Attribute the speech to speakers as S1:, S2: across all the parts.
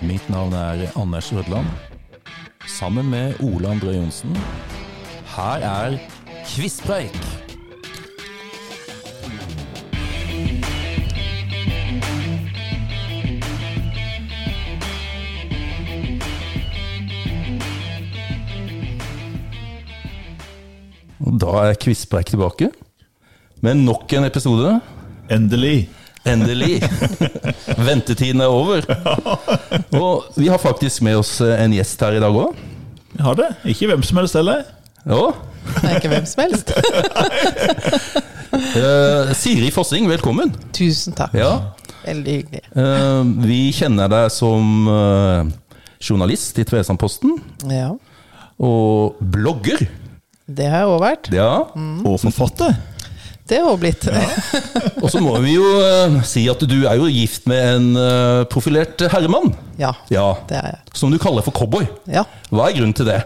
S1: Mitt navn er Anders Rødland. Sammen med Ole André Johnsen. Her er Kvisspreik! Og Da er Kvisspreik tilbake med nok en episode.
S2: Endelig.
S1: Endelig! Ventetiden er over. Og vi har faktisk med oss eh, en gjest her i dag òg.
S2: Vi har det. Ikke hvem som helst heller.
S3: Det er ikke hvem som helst.
S1: Eh, Siri Fossing, velkommen.
S3: Tusen takk.
S1: Ja.
S3: Veldig hyggelig.
S1: Eh, vi kjenner deg som eh, journalist i Tvedestrandposten
S3: Ja.
S1: og blogger.
S3: Det har jeg òg vært.
S1: Ja.
S2: Og forfatter.
S3: Det har jeg òg blitt.
S1: Og så må vi jo eh, si at du er jo gift med en eh, profilert herremann.
S3: Ja.
S1: Ja.
S3: Det er jeg.
S1: Som du kaller for cowboy.
S3: Ja.
S1: Hva er grunnen til det?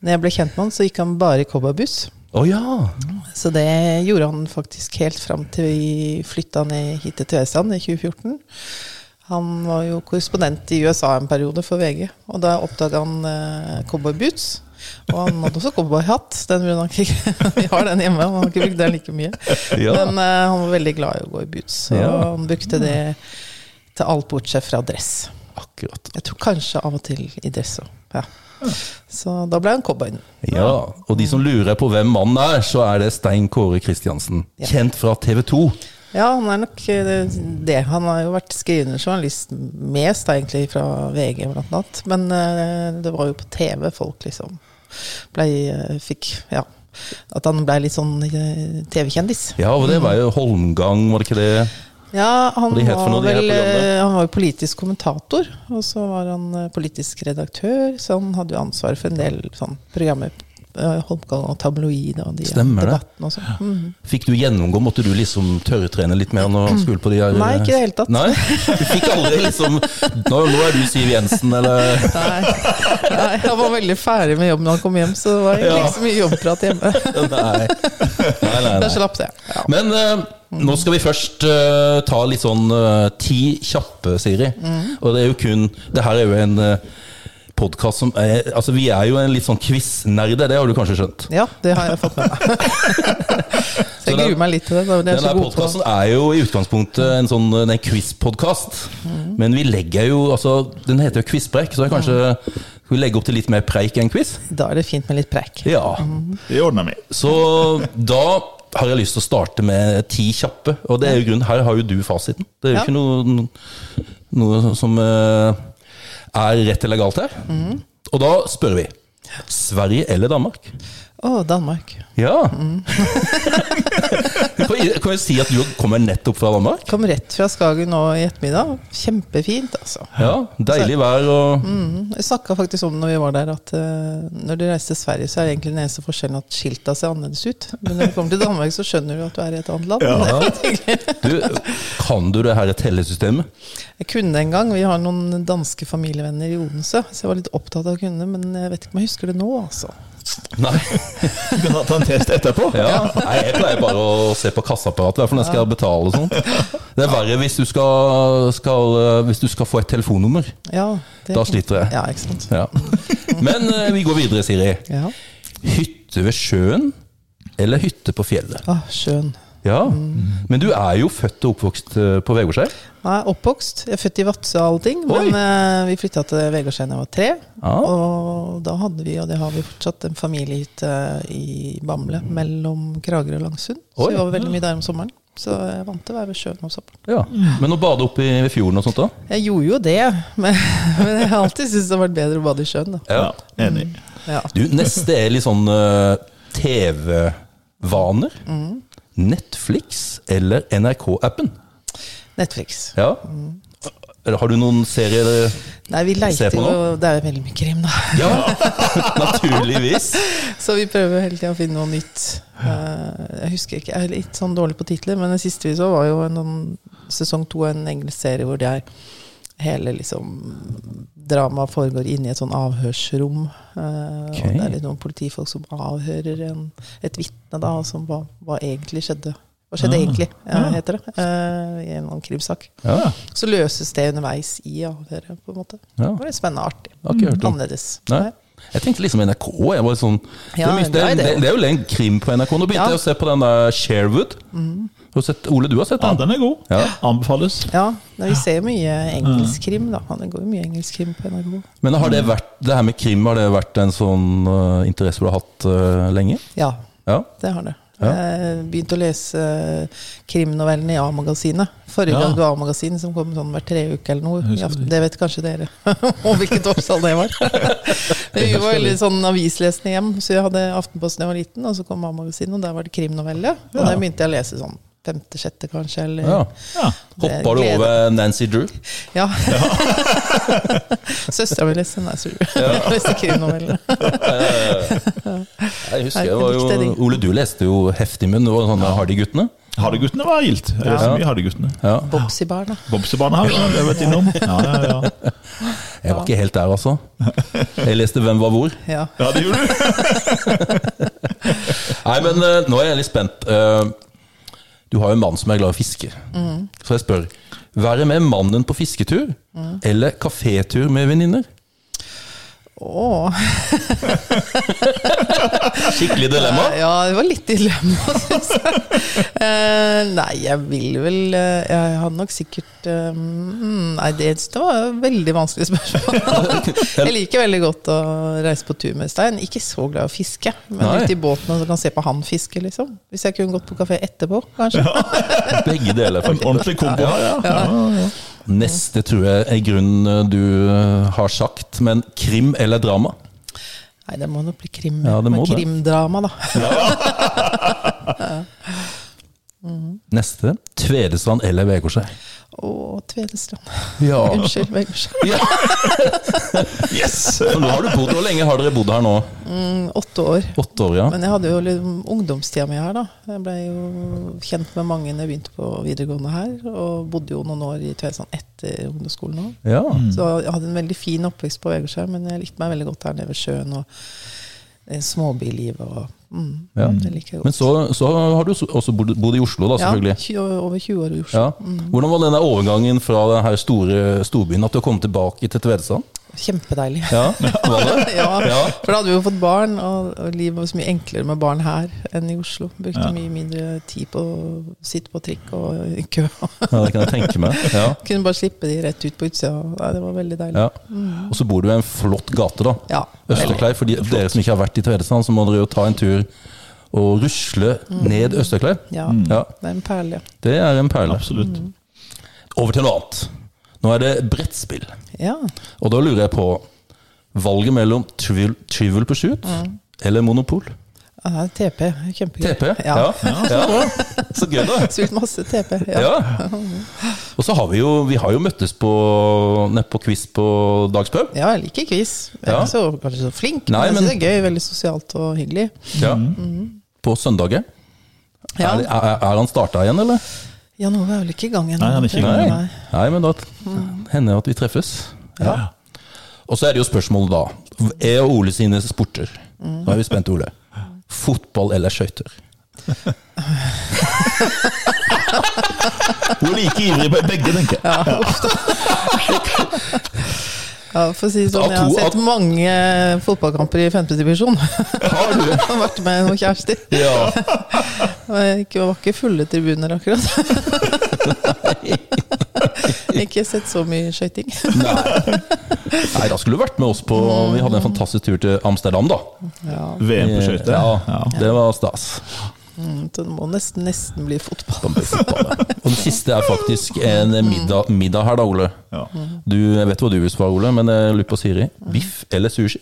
S3: Når jeg ble kjent med han, så gikk han bare i cowboybuss.
S1: Å ja.
S3: Så det gjorde han faktisk helt fram til vi flytta ned hit til Tvedestrand i 2014. Han var jo korrespondent i USA en periode for VG, og da oppdaga han eh, cowboyboots. Og han hadde også cowboyhatt. Den ville han ikke Vi har den hjemme, han har ikke brukt den like mye.
S1: Ja.
S3: Men eh, han var veldig glad i å gå i boots, og
S1: Ja.
S3: han brukte det til alt bortsett fra dress.
S1: Akkurat.
S3: Jeg tror kanskje av og til i dress òg. Ja. Så da ble han cowboyen.
S1: Ja, Og de som lurer på hvem mannen er, så er det Stein Kåre Kristiansen.
S3: Ja.
S1: Kjent fra TV 2.
S3: Ja, han er nok eh, det. Han har jo vært skrivende journalist mest, da, egentlig, fra VG, blant annet. Men eh, det var jo på TV folk liksom ble, eh, fikk Ja. At han blei litt sånn eh, TV-kjendis.
S1: Ja, og det var jo Holmgang, var det ikke det?
S3: Ja, han
S1: Og de het for
S3: var
S1: noe, de her
S3: vel
S1: programmet?
S3: eh, Han var jo politisk kommentator, og så var han eh, politisk redaktør, så han hadde jo ansvar for en del sånn programmer. eh, Holmgang og Tabloid og de eh,
S1: Stemmer det.
S3: debattene og sånn. Mhm.
S1: Fikk du gjennomgå? Måtte du liksom tørretrene litt mer når du skulle på de her eh?
S3: Mm. Nei, ikke i det hele tatt.
S1: Nei? Du fikk aldri liksom Nå, nå er du Siv Jensen, eller
S3: Nei. Nei, han var veldig ferdig med jobben da han kom hjem, så det var
S1: Ja.
S3: ikke så mye jobbprat hjemme.
S1: Nei. Nei, nei,
S3: Da
S1: nei.
S3: slapp det. Ja.
S1: Men eh, nå skal vi først eh, ta litt sånn eh, ti kjappe, Siri.
S3: Mm.
S1: Og det er jo kun Det her er jo en uh, podkast som er, Altså, vi er jo en litt sånn quiz-nerde, det har du kanskje skjønt?
S3: ja, det har jeg fått med meg. Så
S1: Så
S3: jeg
S1: den-
S3: gruer meg litt til det. da. Det er
S1: Denne
S3: så god på
S1: podkasten er jo i utgangspunktet en sånn eh, det er en quiz-podkast.
S3: Mm.
S1: Men vi legger jo altså, Den heter jo Quizpreik, så jeg kanskje skal vi legge opp til litt mer preik enn quiz?
S3: Da er det fint med litt preik.
S1: Ja.
S2: Det ordner vi.
S1: Så da har jeg lyst til å starte med ti kjappe. Og det er jo grunnen, her har jo du fasiten. Det er jo
S3: Ja.
S1: ikke noe, noe som eh, er rett eller galt her. Og da spør vi. Sverige eller Danmark?
S3: Å, Danmark.
S1: Ja! Du kan, kan jo si at du kommer nettopp fra Danmark?
S3: Kom rett fra Skagen nå i ettermiddag. Kjempefint, altså.
S1: Ja, deilig vær og
S3: Mm. Jeg snakka faktisk om når vi var der, at eh, når du reiser til Sverige, så er egentlig den eneste forskjellen at skilta ser annerledes ut. Men når du kommer til Danmark, så skjønner du at du er i et annet land.
S1: Ja. Du, kan du det her tellesystemet?
S3: Jeg kunne en gang. Vi har noen danske familievenner i Odense, så jeg var litt opptatt av å kunne, men jeg vet ikke om jeg husker det nå, altså.
S1: Nei.
S2: Du kan ta- ta en test etterpå.
S1: Ja. Nei, jeg pleier bare å se på kassaapparatet, i hvert fall når jeg skal betale og sånt. Det er verre hvis du skal, skal, eh, hvis du skal få et telefonnummer.
S3: Ja, det-
S1: Da sliter jeg.
S3: Ja, ikke sant.
S1: Ja. Men eh, vi går videre, Siri.
S3: Ja.
S1: Hytte ved sjøen eller hytte på fjellet?
S3: Ah, skjønn.
S1: Ja. Men du er jo født og oppvokst eh, på Vegårshei.
S3: Nei, oppvokst. Jeg er født i Vadsø og allting, men eh, vi flytta til Vegårshei da jeg var tre.
S1: Ja.
S3: Og da hadde vi, og det har vi fortsatt, en familiehytte i Bamble mellom Kragerø og Langsund. Så
S1: Oi.
S3: vi var veldig mye der om sommeren. Så jeg vant til å være ved sjøen om sommeren.
S1: Ja. Men å bade oppe i fjorden og sånt, da?
S3: Jeg gjorde jo det, men, men jeg har alltid syntes det har vært bedre å bade i sjøen, da.
S2: Ja, Enig.
S3: Ja.
S1: Du, neste er litt sånn eh, TV-vaner. Netflix eller NRK-appen?
S3: Netflix.
S1: Ja. Eller Mm. Har du noen serier
S3: Nei, vi
S1: Se
S3: leiter
S1: på
S3: jo
S1: noe.
S3: Det er jo veldig mye krim, da.
S1: Ja, naturligvis.
S3: Så vi prøver hele tida å finne noe nytt. Eh, Jeg husker ikke, jeg er litt sånn dårlig på titler, men den siste vi så, var jo en, sånn- sesong to av en engelsk serie hvor det er hele liksom dramaet foregår inni et sånn avhørsrom. Eh,
S1: Ok.
S3: Og det er litt noen politifolk som avhører en, et vitne, da, og som hva, hva egentlig skjedde Hva skjedde
S2: Ah.
S3: egentlig, eh,
S2: Ah.
S3: heter det. eh, I en annen krimsak.
S1: Ja,
S3: Så løses det underveis i avhøret, på en måte.
S1: ja.
S3: Det var litt spennende og artig.
S1: Har ikke hørt om.
S3: Annerledes.
S1: Nei. Jeg tenkte liksom NRK. Jeg var sånn,
S3: Ja,
S1: det, er mye-
S3: det er det.
S1: det, det er jo en krim på NRK. Nå begynte
S3: Ja.
S1: jeg å se på den der Sherwood. Har du sett, Ole, du har sett
S2: Ja,
S1: den?
S2: den er god.
S1: Ja.
S2: Anbefales.
S3: Ja, nei, vi ser jo mye engelskkrim, da. Det går jo mye engelskkrim på NRK.
S1: Men har det vært, det her med krim har det vært en sånn øh, interesse du har hatt øh, lenge?
S3: Ja,
S1: Ja.
S3: det har det.
S1: Ja.
S3: Jeg begynte å lese krimnovellene i A-magasinet. Forrige
S2: Ja.
S3: gang det var A-magasin, som kom sånn hver tre uke eller noe.
S2: Husker
S3: I
S2: det.
S3: aften. Det vet kanskje dere, og hvilket årstall det var. Men vi var veldig sånn avislesende hjem, så jeg hadde Aftenposten da jeg var liten, og så kom A-magasinet, og der var det krimnovelle. Og
S2: Ja.
S3: der begynte jeg å lese sånn femte-sjette, kanskje, eller
S1: ja.
S2: Ja.
S3: Eh, Det
S1: Hoppa du
S3: gleder-
S1: over Nancy Drew?
S3: Ja. Søstera mi leste Nei, sur. leste krimnovellene.
S1: Jeg husker
S3: Jeg
S1: det var
S3: likte
S1: jo,
S3: de.
S1: Ole, du leste jo Heftigmunn og sånne Hardy-guttene.
S2: Hardeguttene var gildt. Jeg leste mye Hardeguttene.
S1: Ja.
S3: Bobsy-barna.
S2: Bobsebanehagen, det har vi vært innom. Ja, ja, ja.
S1: Jeg var ikke helt der, altså. Jeg leste Hvem var hvor.
S3: Ja.
S2: ja, det gjorde du.
S1: Nei, men øh, nå er jeg litt spent. Øh, du har jo en mann som er glad i å fiske.
S3: Mm.
S1: Så jeg spør Være med mannen på fisketur
S3: Mm.
S1: eller kafétur med venninner?
S3: Åh.
S1: Skikkelig dilemma.
S3: Ja, det var litt dilemma, syns jeg. Eh, nei, jeg vil vel eh, Jeg hadde nok sikkert eh, mm, Nei, det, det var et veldig vanskelig spørsmål. jeg liker veldig godt å reise på tur med Stein. Ikke så glad i å fiske, men
S1: Nei.
S3: ute i båten og så kan se på han fiske, liksom. Hvis jeg kunne gått på kafé etterpå, kanskje.
S1: Begge deler. faktisk.
S2: Ordentlig kombo. Ja, ja. Ja, ja.
S1: Neste tror jeg er grunnen du eh, har sagt, men krim eller drama?
S3: Nei, det må nok bli krim.
S1: Ja, det må
S3: men
S1: det.
S3: krimdrama, da.
S1: Neste Tvedestrand eller Vegårshei?
S3: Å, Tvedestrand.
S1: Ja.
S3: Unnskyld, Vegårshei.
S1: ja.
S2: Yes!
S1: Men nå har du bodd, Hvor lenge har dere bodd her nå?
S3: Mm, Åtte år.
S1: Åtte år, ja.
S3: Men jeg hadde jo liksom ungdomstida mi her, da. Jeg ble jo kjent med mange når jeg begynte på videregående her. Og bodde jo noen år i Tvedestrand etter ungdomsskolen òg.
S1: ja. Mm.
S3: Så jeg hadde en veldig fin oppvekst på Vegårshei, men jeg likte meg veldig godt her nede ved sjøen. Og eh, småbylivet og mm,
S1: Ja.
S3: Det liker jeg godt.
S1: Men så, så har du også bodd, bodd i Oslo, da,
S3: ja,
S1: selvfølgelig.
S3: 20, år- over 20 år i Oslo.
S1: Ja. Hvordan var den der overgangen fra den her store storbyen at du kom tilbake til Tvedestrand?
S3: Kjempedeilig.
S1: Ja, var det?
S3: ja,
S1: Ja.
S3: for da hadde vi jo fått barn, og, og livet var så mye enklere med barn her enn i Oslo. Brukte
S2: Ja.
S3: mye mindre tid på å sitte på trikk og i kø.
S1: ja, det kan jeg tenke meg. Ja.
S3: Kunne bare slippe de rett ut på utsida. Nei, det var veldig deilig.
S1: Ja. Og så bor du i en flott gate, da.
S3: Mm. Ja.
S1: Østerklei, for de, dere som ikke har vært i Tvedestrand, så må dere jo ta en tur og rusle ned Østerklei.
S3: Mm. ja.
S1: Ja,
S3: Det er en perle.
S1: det er en perle.
S2: Absolutt.
S1: Over til noe annet. Nå er det brettspill.
S3: Ja.
S1: Og da lurer jeg på valget mellom Trivial, trivial Pursuit
S3: Mm.
S1: eller Monopol.
S3: Ja, det er TP. Kjempegøy.
S1: TP. Ja.
S3: Ja.
S1: Ja. Så gøy, da.
S3: Sult masse TP. Ja.
S1: Ja. Og så har vi jo Vi har jo møttes på nede på quiz på Dagspub.
S3: Ja, jeg liker quiz. Jeg er
S1: Ja.
S3: ikke så, kanskje så flink,
S1: Nei,
S3: men, jeg synes
S1: men-
S3: det er gøy. Veldig sosialt og hyggelig.
S1: Ja. På søndager.
S3: Ja.
S1: Er, er, er han starta igjen, eller?
S3: Jan Ove er vel ikke i gang ennå?
S2: Nei, han er ikke i gang.
S1: Nei, Nei men da hender det at vi treffes.
S2: Ja.
S1: Og så er det jo spørsmålet da. Jeg og Ole sine sporter. Nå er vi spent, Ole. Fotball eller skøyter?
S2: Du er like ivrig på begge, tenker jeg.
S3: Ja, uff da. Ja, for å si det
S1: Av
S3: sånn, jeg har
S1: to-
S3: sett
S1: av-
S3: mange fotballkamper i femtedivisjon.
S1: Har du?
S3: Jeg har vært med noen kjærester.
S1: Ja.
S3: Og jeg ikke- var ikke fulle tribuner akkurat. ikke sett så mye skøyting.
S1: Nei. Nei, da skulle du vært med oss på Vi hadde en fantastisk tur til Amsterdam, da.
S3: Ja,
S2: VM på skøyter.
S1: Ja, det var stas.
S3: mm, så det må nesten, nesten bli fotball.
S1: Og det siste er faktisk en middag, middag her, da, Ole.
S2: Ja.
S1: Du, jeg vet hva du vil svare, Ole, men jeg lurer på Siri. Biff eller sushi?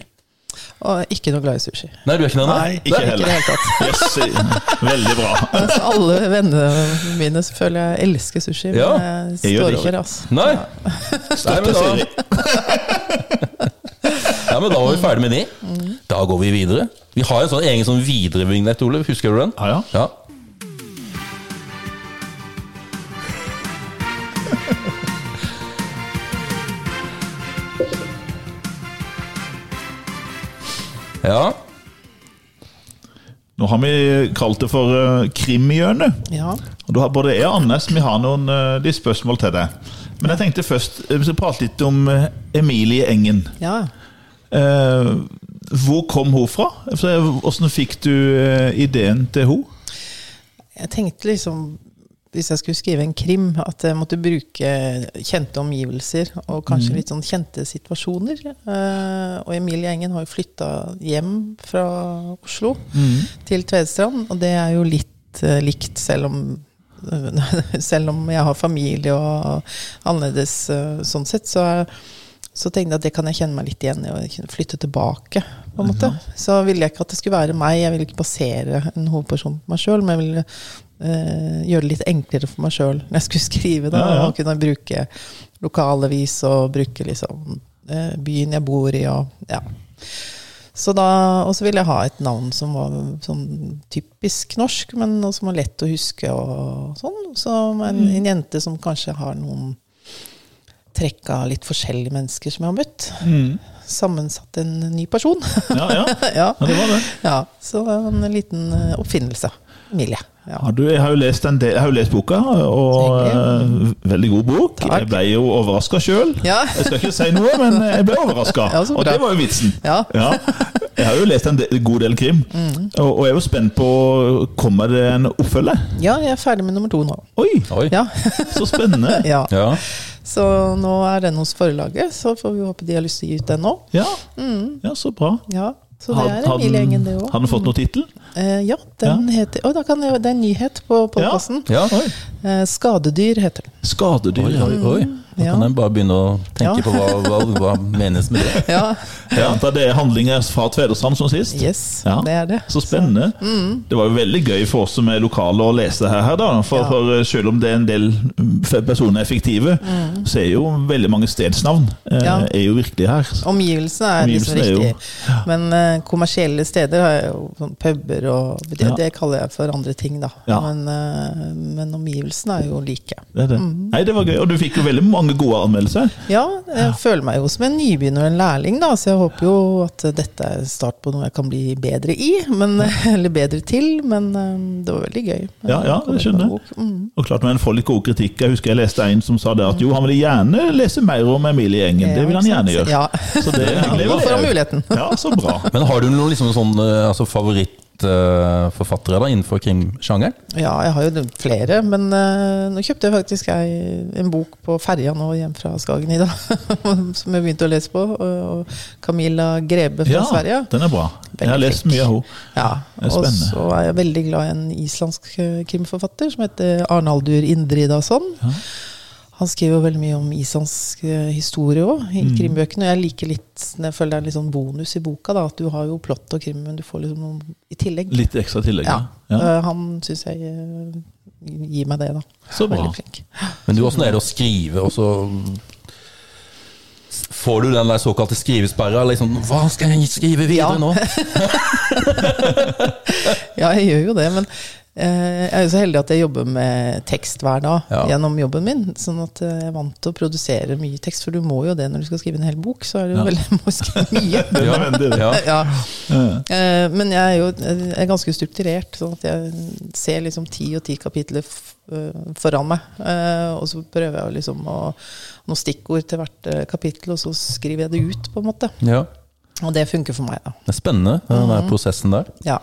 S3: Og ikke noe glad i sushi.
S1: Nei, du er ikke den?
S2: Nei, ikke
S3: Ikke i det
S2: heller.
S3: hele tatt.
S2: Yes, veldig bra.
S3: Altså, alle vennene mine så føler jeg elsker sushi, men
S1: Ja,
S3: jeg
S2: jeg gjør
S3: står
S2: det ikke.
S3: over, altså.
S1: Nei. Nei, men da,
S2: Siri.
S1: ja, men da var vi ferdig med de. Da går vi videre. Vi har en sånn egen sånn viderevignett, Ole. Husker du den?
S2: Ja, ja.
S1: Ja. Ja.
S2: Nå har vi kalt det for eh, Krimhjørnet.
S3: Ja.
S2: Og da har både jeg og Anne som vi har noen eh, litt spørsmål til deg. Men jeg tenkte først eh, vi skal prate litt om eh, Emilie Engen.
S3: Ja.
S2: Eh, hvor kom hun fra? Altså, Hvordan fikk du eh, ideen til hun?
S3: Jeg tenkte liksom, hvis jeg skulle skrive en krim, at jeg måtte bruke kjente omgivelser og kanskje litt sånn kjente situasjoner. Eh, og Emilie Engen har jo flytta hjem fra Oslo til Tvedestrand, og det er jo litt eh, likt, selv om selv om jeg har familie og annerledes eh, sånn sett, så, er- så tenkte jeg at det kan jeg kjenne meg litt igjen i, og kunne flytte tilbake. på en måte. Så ville jeg ikke at det skulle være meg, jeg ville ikke basere en hovedperson på meg sjøl, men jeg ville eh, gjøre det litt enklere for meg sjøl når jeg skulle skrive. Da,
S2: Ja, ja.
S3: Og kunne bruke lokalavis og bruke liksom, eh, byen jeg bor i og ja. Så da, og så ville jeg ha et navn som var sånn typisk norsk, men og som var lett å huske. og sånn. Som en,
S2: Mm.
S3: en jente som kanskje har noen trekk av litt forskjellige mennesker som jeg har møtt. Sammensatt en ny person.
S2: Mm. Ja, ja.
S3: ja.
S2: ja, det var det.
S3: ja, Så en liten eh, oppfinnelse. Emilie. Ja.
S2: Ja, du, jeg har jo lest, en del, jeg har jo lest boka, og eh, veldig god bok.
S3: Takk.
S2: Jeg ble jo overraska sjøl.
S3: Ja.
S2: Jeg skal ikke si noe, men eh, jeg ble overraska.
S3: Ja, så
S2: og
S3: bra.
S2: det var jo vitsen.
S3: Ja. Mm.
S2: Jeg har jo lest en del, god del krim, og, og jeg er jo spent på Kommer det en oppfølger.
S3: ja, jeg er ferdig med nummer to nå.
S2: Oi,
S1: Oi.
S3: Ja.
S2: så spennende!
S3: ja.
S1: Ja.
S3: Så nå er den hos forlaget, så får vi håpe de har lyst til å gi ut den nå.
S2: Ja, ja så bra.
S3: Ja, Mm. Så det
S2: Har-
S3: er
S2: har den-
S3: Emilie Engen, det òg.
S2: Har den fått noen tittel?
S3: Eh, ja, den heter Å, da kan jeg, det er en nyhet på podkasten.
S1: Ja.
S2: Oi.
S3: Eh, skadedyr heter den.
S1: Oi,
S2: Skadedyr.
S1: oi, oi. Da
S3: Ja.
S1: kan en bare begynne å tenke
S3: Ja.
S1: på hva, hva, hva menes med det.
S3: Ja,
S2: Mm. Jeg antar det er handlinger fra Tvedestrand som sist?
S3: yes,
S2: Ja.
S3: det er det. Mm.
S2: Så spennende. Det var jo veldig gøy for oss som er lokale å lese her, her da. For,
S3: Ja.
S2: for eh, selv om det er en del mm, personer er fiktive, så er jo veldig mange stedsnavn eh,
S3: Mm. Ja.
S2: er jo virkelige her.
S3: Så Omgivelsene
S2: Omgivelsene
S3: er
S2: er
S3: liksom
S2: jo-
S3: riktig. Men eh, kommersielle steder har jeg jo sånn puber og det,
S2: Ja.
S3: det kaller jeg for andre ting, da.
S2: Ja.
S3: Men, eh, men omgivelsene er jo like.
S2: Det er det.
S3: Mm.
S2: Nei, det var gøy. Og du fikk jo veldig mange gode anmeldelser.
S3: Ja, jeg føler meg jo som en nybegynner og en lærling, da, så jeg håper jo at dette er start på noe jeg kan bli bedre i, men, eller bedre til. Men eh, det var veldig gøy.
S2: Ja, ja, det
S3: Kom
S2: skjønner
S3: med bok. Mm.
S2: Og klart man får litt god kritikk. Jeg husker jeg leste en som sa det at jo, han ville gjerne lese mer om Emilie Engen. Det vil han
S3: Ja,
S2: gjerne
S3: ikke sant?
S2: gjøre.
S3: Ja.
S2: Så det
S3: Ja,
S2: gleder
S3: nå får han
S2: jeg.
S3: muligheten.
S2: Ja, så bra.
S1: Men har du noen liksom, sånn, eh, altså, favorittforfattere da, innenfor krimsjangeren?
S3: Ja, jeg har jo nevnt flere, men eh, nå kjøpte jeg faktisk ei, en bok på ferja nå hjem fra Skagen i dag, som jeg begynte å lese på. Og og Camilla Grebe fra
S2: Ja,
S3: Sverige.
S2: den er bra. Jeg har
S3: Veldig
S2: lest
S3: flink.
S2: mye av henne.
S3: Ja,
S2: Det er
S3: og
S2: spennende.
S3: så er jeg veldig glad i en islandsk eh, krimforfatter som heter Arnaldur Indridason. Han skriver jo veldig mye om islandsk eh, historie òg, i
S2: Mm.
S3: krimbøkene. Og jeg liker litt, jeg føler det er en litt sånn bonus i boka, da, at du har jo plott og krim, men du får liksom noe i tillegg.
S2: Litt ekstra tillegg.
S3: Ja.
S2: Ja. Ja.
S3: Eh, Han syns jeg eh, gir meg det, da.
S2: Så bra.
S3: Veldig flink.
S1: Men du, åssen er det å skrive, og så Får du den der såkalte skrivesperra? Liksom, hva skal jeg skrive videre
S3: Ja.
S1: nå?
S3: Ja, jeg gjør jo det, men eh, jeg er jo så heldig at jeg jobber med tekst hver dag
S1: Ja.
S3: gjennom jobben min. Sånn at eh, jeg er vant til å produsere mye tekst, for du må jo det når du skal skrive en hel bok. Så er det jo
S2: Ja.
S3: veldig må skrive mye.
S1: Ja,
S2: nødvendig, det.
S1: ja.
S3: Ja.
S2: Ja.
S3: Eh, Men jeg er jo jeg er ganske strukturert, sånn at jeg ser liksom ti og ti kapitler f- eh, foran meg. Eh, Og så prøver jeg å liksom å noen stikkord til hvert eh, kapittel, og så skriver jeg det ut, på en måte.
S1: ja.
S3: Og det funker for meg, da.
S1: Det er spennende, den
S3: Mm.
S1: der prosessen der.
S3: Ja.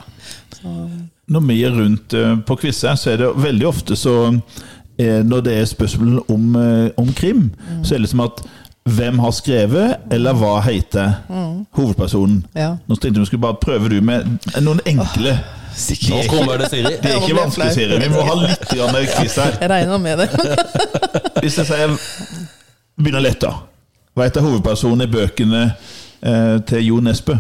S2: Når vi er rundt eh, på quizet, så er det veldig ofte så eh, Når det er spørsmål om, eh, om krim, så er det liksom at hvem har skrevet, eller hva heter hovedpersonen?
S3: Ja.
S2: Nå tenkte jeg vi skulle bare prøve du med noen enkle.
S1: Nå kommer det, Siri.
S2: Det er
S3: Ja, nå
S2: ikke
S3: ble jeg
S2: vanskelig,
S3: flau.
S2: Siri. Vi må ha litt grann quiz her.
S3: Jeg regner med det.
S2: Hvis jeg sier Begynner lett, da. Hva heter hovedpersonen i bøkene eh, til Jo Nesbø?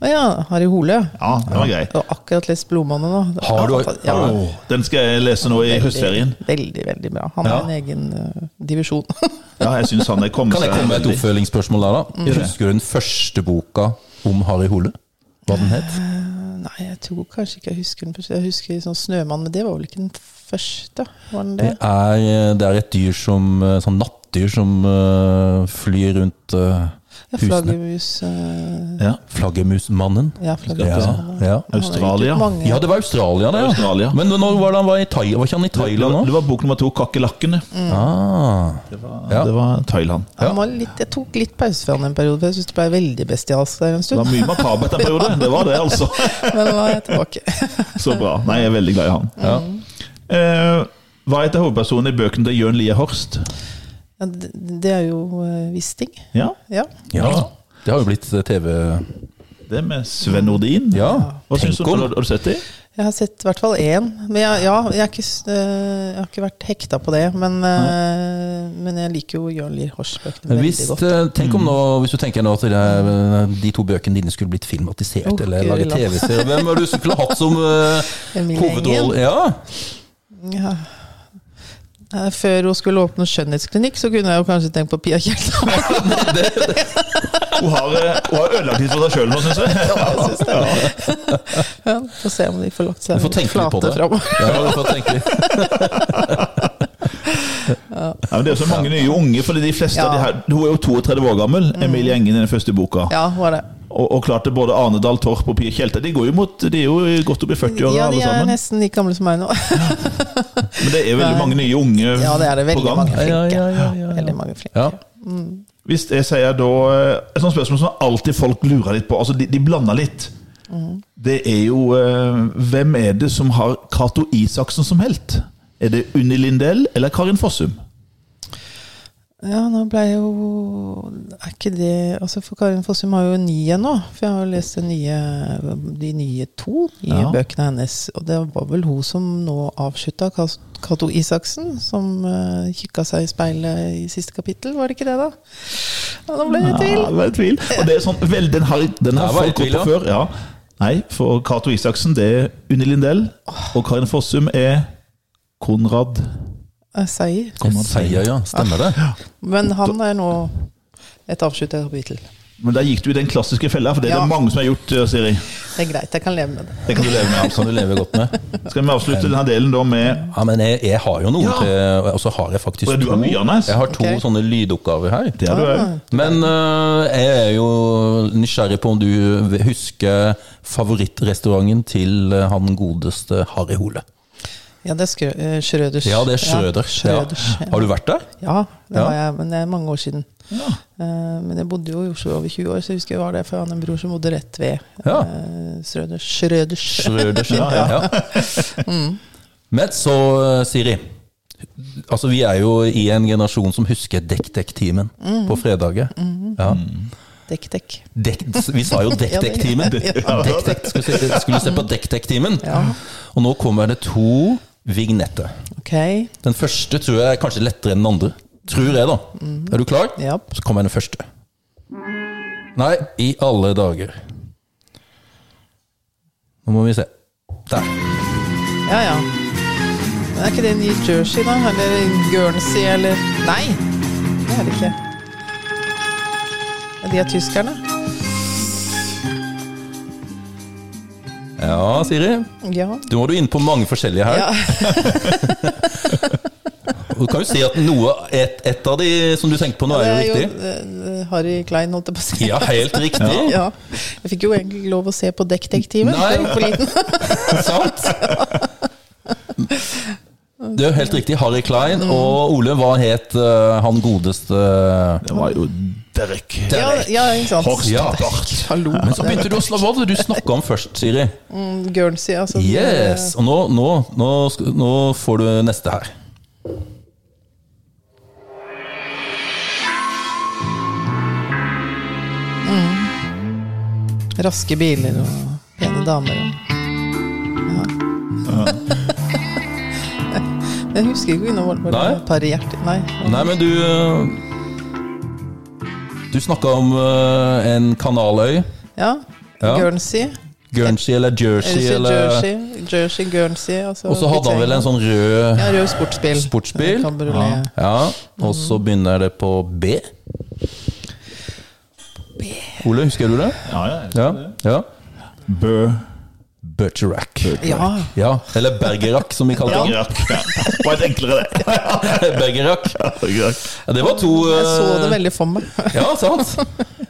S3: Å ja, Harry Hole.
S2: Ja, den var grei.
S3: Jeg har akkurat lest 'Blodmannen' nå.
S1: Har du-
S3: ja,
S1: har
S2: Åh, Den skal jeg lese nå i høstferien.
S3: Veldig, veldig, veldig bra. Han
S2: Ja.
S3: har en egen eh, divisjon.
S2: Ja, jeg synes han er kommet
S1: Kan jeg komme med et
S2: veldig-
S1: oppfølgingsspørsmål der, da? Husker du den første boka om Harry Hole? Hva den het?
S3: Eh, Nei, jeg tror kanskje ikke jeg husker den første. Jeg husker sånn 'Snømann', men det var vel ikke den første? Var den det?
S1: Det eh, er, det er et dyr som Sånn nattdyr som øh, flyr eh, rundt øh,
S3: Ja, flaggermus eh,
S2: Ja.
S1: Flaggermusmannen.
S3: Ja, flaggermus.
S1: Ja,
S3: Han-
S1: ja.
S3: han har
S2: Australia.
S3: gitt ut mange.
S1: Ja, det var Australia, det.
S2: Australia.
S1: Ja. Men når var det han var i Thailand? Var ikke han i Thailand
S2: Det
S1: nå?
S2: var bok nummer to, 'Kakerlakkene'.
S3: Mm.
S1: Ah. Ja.
S2: Det var Thailand.
S1: Ja.
S3: Han var litt, jeg tok litt pause fra han en periode, for jeg syns det ble veldig bestialsk der en
S2: Det var
S3: stund.
S2: mye makabert en periode. Det var det, altså.
S3: Men nå er jeg tilbake.
S2: Så bra. Nei, jeg er veldig glad i han.
S1: Ja.
S2: Eh, hva heter hovedpersonen i bøkene til Jørn Lier Horst?
S3: Ja, det, det er jo eh, Wisting.
S2: Ja,
S3: Ja.
S1: ja. Det har jo blitt eh, TV
S2: det med Sven Nordin.
S1: Ja.
S2: Hva syns du
S1: Tenk
S2: om
S1: om.
S2: det? Har du sett det?
S3: Jeg har sett i hvert fall én. Men jeg, ja, jeg, er ikke, s- eh, jeg har ikke vært hekta på det. Men, eh, men jeg liker jo Jørn Lier Horst-bøkene veldig
S1: Hvis,
S3: godt.
S1: eh, tenk om nå, hvis du tenker nå at det er, eh, de to bøkene dine skulle blitt filmatisert
S3: Åh,
S1: eller laget
S3: gud, ja.
S1: TV-serie, hvem er det du skulle hatt som uh,
S3: Emilie
S1: hovedrolle? Ja.
S3: Ja. Eh, Før hun skulle åpne skjønnhetsklinikk, så kunne jeg jo kanskje tenkt på Pia Kjelta.
S2: Hun har, eh, hun har ødelagt litt for seg sjøl nå, syns jeg.
S3: Ja, Få se om de får lagt
S1: Du
S3: seg
S1: får tenke litt på
S3: flate
S1: det.
S3: framover.
S1: ja du får tenke litt.
S2: Ja, men det er så mange nye unge, fordi de fleste av de
S3: Ja. Mm.
S2: her Hun er jo 32 år gammel, Emilie Engen i den første boka.
S3: Ja, hun er det.
S2: Og, og klart det er både Ane Dahl Torp og Pia Tjelte. De, går jo mot, de er jo godt opp i 40-åra,
S3: Ja,
S2: alle
S3: de er
S2: sammen.
S3: nesten like gamle som meg nå.
S2: Men det er veldig mange nye unge
S3: Ja, det er det.
S2: på
S3: Veldig
S2: gang.
S3: mange
S1: Ja,
S3: flinke.
S1: ja, ja, ja, ja.
S3: Veldig mange flinke.
S1: Ja.
S2: Hvis jeg sier da eh, Et sånt spørsmål som alltid folk lurer litt på, altså de, de blander litt.
S3: Mhm.
S2: Det er jo eh, Hvem er det som har Cato Isaksen som helt? Er det Unni Lindell eller Karin Fossum?
S3: Ja, nå ble jeg jo Er ikke det altså For Karin Fossum har jo ni igjen nå. For jeg har jo lest de nye, de nye to nye
S2: Ja.
S3: bøkene hennes. Og det var vel hun som nå avslutta Kas- Cato Isaksen, som uh, kikka seg i speilet i siste kapittel. Var det ikke det, da? Ja, nå ble jeg i tvil.
S2: Ja, det var i tvil. Og det er sånn, vel, den har, den har
S1: Der var jeg i
S2: folk gått
S1: tvil,
S2: på før. Ja. Nei, for Cato Isaksen det er Unni Lindell, og Karin Fossum er Konrad
S3: Eh, Seier.
S1: Jeg sier ja, stemmer det?
S3: Men han er nå et avslutta kapittel.
S2: Men der gikk du i den klassiske fella, for det er
S3: Ja.
S2: det mange som har gjort, eh, Siri.
S3: Det er greit, jeg kan leve med det.
S2: Det kan du leve med.
S1: Alt som du lever godt med.
S2: Skal vi avslutte denne delen da med
S1: Ja, men jeg, jeg har jo noen
S2: Ja.
S1: til Og så har jeg faktisk
S2: Oi, du har mye, Anders.
S1: Jeg har to
S3: Ok.
S1: sånne lydoppgaver her.
S2: Det har du òg.
S1: Men øh, jeg er jo nysgjerrig på om du husker favorittrestauranten til øh, han godeste Harry Hole.
S3: Ja, det er Skrø- eh, Schrøders.
S1: Ja, det er Schrøder.
S3: Schrøders,
S1: Ja. Har du vært der?
S3: Ja, det
S1: Ja.
S3: var jeg, men det er mange år siden. Eh, men jeg bodde jo i Oslo over 20 år, så jeg husker jeg var der, for jeg hadde en bror som bodde rett ved
S1: Ja.
S3: eh, Schrøders. Schrøders.
S1: Schrøders, ja.
S2: Ja,
S1: ja. Men så, øh, Siri. Altså, vi er jo i en generasjon som husker Dekk-Dekk-timen på fredager. Ja.
S3: Dekk, dekk.
S1: Dekk, vi sa jo Dekk-Dekk-timen. Dekk-Dekk skulle, se- skulle se på Dekk-Dekk-timen.
S3: Ja.
S1: Og nå kommer det to vignetter.
S3: Ok.
S1: Den første tror jeg er kanskje lettere enn den andre. Tror jeg, da. Er du klar?
S3: Mhm. Ja.
S1: Så kommer den første. Nei, i alle dager. Nå må vi se. Der.
S3: Ja, ja. Men er ikke det New Jersey, da? Eller Guernsey, eller Nei, det er det ikke. Ja, De er tyskerne.
S1: Ja, Siri.
S3: Ja.
S1: Du må du inn på mange forskjellige her.
S3: ja.
S1: Og Du kan jo si at noe, et, et av de som du tenkte på nå,
S3: Det
S1: er
S3: er
S1: jo
S3: jo
S1: riktig.
S3: eh, Harry Klein, holdt jeg på å si.
S1: Ja, helt riktig.
S3: Ja. Jeg fikk jo egentlig ikke lov å se på Dekkdekktimen.
S1: Nei.
S3: Jeg var for liten.
S1: Sant? Det er jo helt riktig. Harry Klein.
S3: Mm.
S1: Og Ole, hva het eh, han godeste
S2: Det var jo Derek.
S3: Ja, ja, ikke sant.
S2: Horst
S1: Ja.
S2: Bart.
S3: Hallo.
S1: Men så begynte du å slå Hva var det du snakka om først, Siri?
S3: Mm, Guernsey, altså. det-
S1: Yes! Og nå, nå, nå, sk- nå får du neste her.
S3: Raske biler og pene damer og ja. Jeg husker ikke når det var
S1: Nei.
S3: et par hjerter Nei.
S1: Nei, men du eh, Du snakka om eh, en kanaløy.
S3: Ja.
S1: Ja.
S3: Guernsey.
S1: Guernsey eller Jersey
S3: Jersey,
S1: eller
S3: Jersey, Jersey, Guernsey. altså
S1: Og så hadde han vel en sånn rød
S3: Ja, rød sportsbil.
S1: sportsbil.
S3: Kabriolet.
S1: Ja, og så begynner det på B. Ole, husker du det?
S2: Ja, ja.
S1: Ja. ja.
S2: Bø. B.
S1: Bergerac.
S3: Ja.
S1: Ja, eller Bergerac, som vi kalte han.
S2: Bergerak. Ja. Det var et enklere, det.
S1: Bergerac.
S2: Bergerak.
S1: Ja, det var to
S3: Jeg så
S1: eh,
S3: det veldig for meg.
S1: Ja, sant.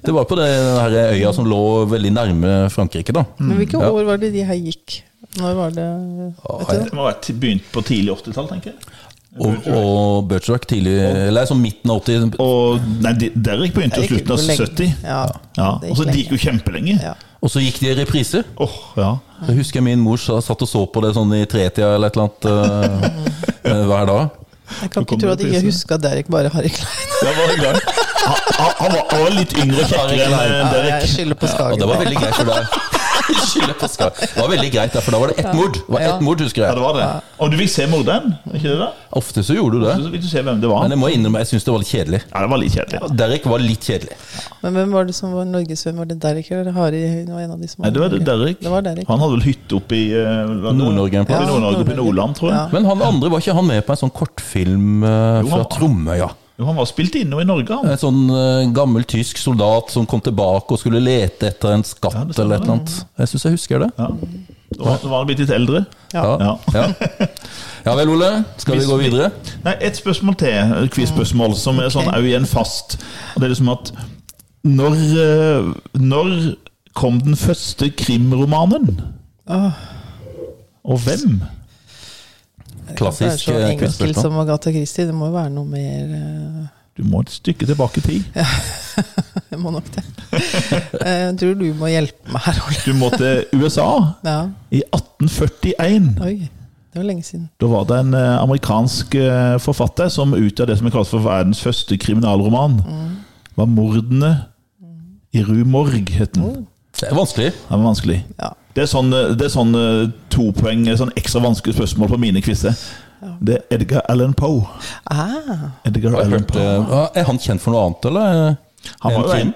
S1: Det var på den her øya som lå veldig nærme Frankrike, da.
S3: Men hvilke
S1: Ja.
S3: år var det de her gikk? Når var det vet du? det?
S2: Det må ha vært begynt på tidlig 80-tall, tenker jeg.
S1: Og, og Bergerac tidlig Eller sånn midten av 80.
S2: Og nei, de- Derek begynte
S3: Det
S2: i
S3: gikk
S2: slutten av
S3: jo lenge.
S2: 70.
S3: Ja.
S2: Ja,
S3: Det gikk
S2: og så de
S3: lenge.
S2: gikk jo kjempelenge.
S3: Ja.
S1: Og så gikk de i reprise.
S2: Åh, ja.
S1: Jeg husker min mor sa- satt og så på det sånn i tretida eller et eller annet eh, eh, hver dag.
S3: Jeg kan
S2: Så kom
S3: ikke tro at
S2: det
S3: jeg ikke
S2: prisen.
S3: huska Derek bare Harry Klein.
S2: Det var en gang. Han, han- han, var, han var litt yngre og kjekkere enn eh,
S3: Ja, jeg
S2: Derek.
S3: skylder på
S1: Og
S3: Skagen.
S1: det var veldig greit, for der Skylder på Skar. Det var veldig greit, der, for da var det ett mord. Det var ett mord, husker
S2: Ja, det
S1: jeg.
S2: var det. Og du fikk se morderen, ikke det? da?
S1: Ofte så gjorde du det.
S2: Så fikk du se hvem det var.
S1: Men jeg må innrømme, jeg syns det var litt kjedelig.
S2: Ja, det var litt kjedelig.
S1: Derek var litt kjedelig.
S3: Men hvem var det som var Norges venn? Var det Derek eller Harry? Det var en av de som
S2: Nei, det var det Derek.
S3: Det var Derek.
S2: Han hadde vel hytte oppe i eh, hva-
S1: Nord-Norge en plass.
S2: I Nord-Norge, oppe i Nordland, tror jeg.
S3: Ja.
S1: Men han andre var ikke han med på en sånn kortfilm eh,
S2: Jo,
S1: fra
S2: han-
S1: Tromøya?
S2: Jo, han var spilt innom i Norge, han.
S1: En sånn eh, gammel tysk soldat som kom tilbake og skulle lete etter en skatt
S2: Ja, det
S1: eller
S2: stemmer
S1: et eller annet. Jeg syns jeg husker det.
S2: Ja. Da var- da var han blitt litt eldre.
S3: Ja.
S1: Ja. Ja. ja vel, Ole. Skal vi gå videre?
S2: Nei, Et spørsmål til, et quiz-spørsmål, som er sånn au igjen fast. Og det er liksom at når, eh, når kom den første krimromanen? Og hvem?
S1: Klassisk
S3: Det er så
S1: eh,
S3: enkelt
S1: quizspørsmål.
S3: som Agatha Christie. Det må jo være noe mer eh,
S2: Du må et stykke tilbake i tid.
S3: Jeg eh, må nok det. Eh, Jeg tror du må hjelpe meg her, Ole.
S2: Du må til USA
S3: Ja.
S2: i 1841.
S3: Oi. Det var lenge siden.
S2: Da var det en eh, amerikansk eh, forfatter som utgjør det som er kalt for verdens første kriminalroman. var 'Mordene i Rue Morgue', het den.
S1: Det er vanskelig.
S2: Den var vanskelig.
S3: Ja.
S2: Det er sånn, det er sånn eh, to poeng, eh, sånn ekstra vanskelig spørsmål på mine quizer. Det er Edgar Allan Poe.
S3: Ah,
S2: Edgar
S1: Har jeg
S2: Allan
S1: hørt,
S2: Poe.
S1: eh, ah, er han kjent for noe annet, eller?
S2: Han var jo
S1: en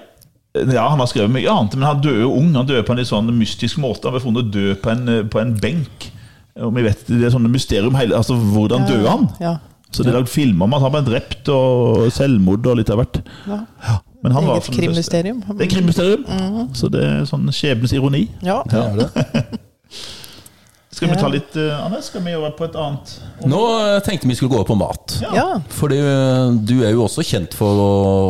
S2: en, ja, han har skrevet mye annet, men han døde jo ung. Han døde på en litt sånn mystisk måte. Han ble funnet død på en, eh, på en benk. Om jeg vet, det er sånne mysterium hele, altså Hvordan døde han?
S3: ja.
S2: Så det er lagd filmer om at han ble drept, og selvmord og litt av hvert.
S3: ja.
S2: Ja, men han var
S3: Eget
S2: for den første.
S3: krimmysterium. Mhm.
S2: Det er krimmysterium. Så det er sånn skjebnens ironi.
S3: Ja.
S1: Det er det.
S2: Skal vi
S3: Ja.
S2: ta litt, eh, Anders? Skal vi over på et annet?
S1: Nå eh, tenkte vi skulle gå over på mat.
S3: ja.
S1: Fordi eh, du er jo også kjent for å,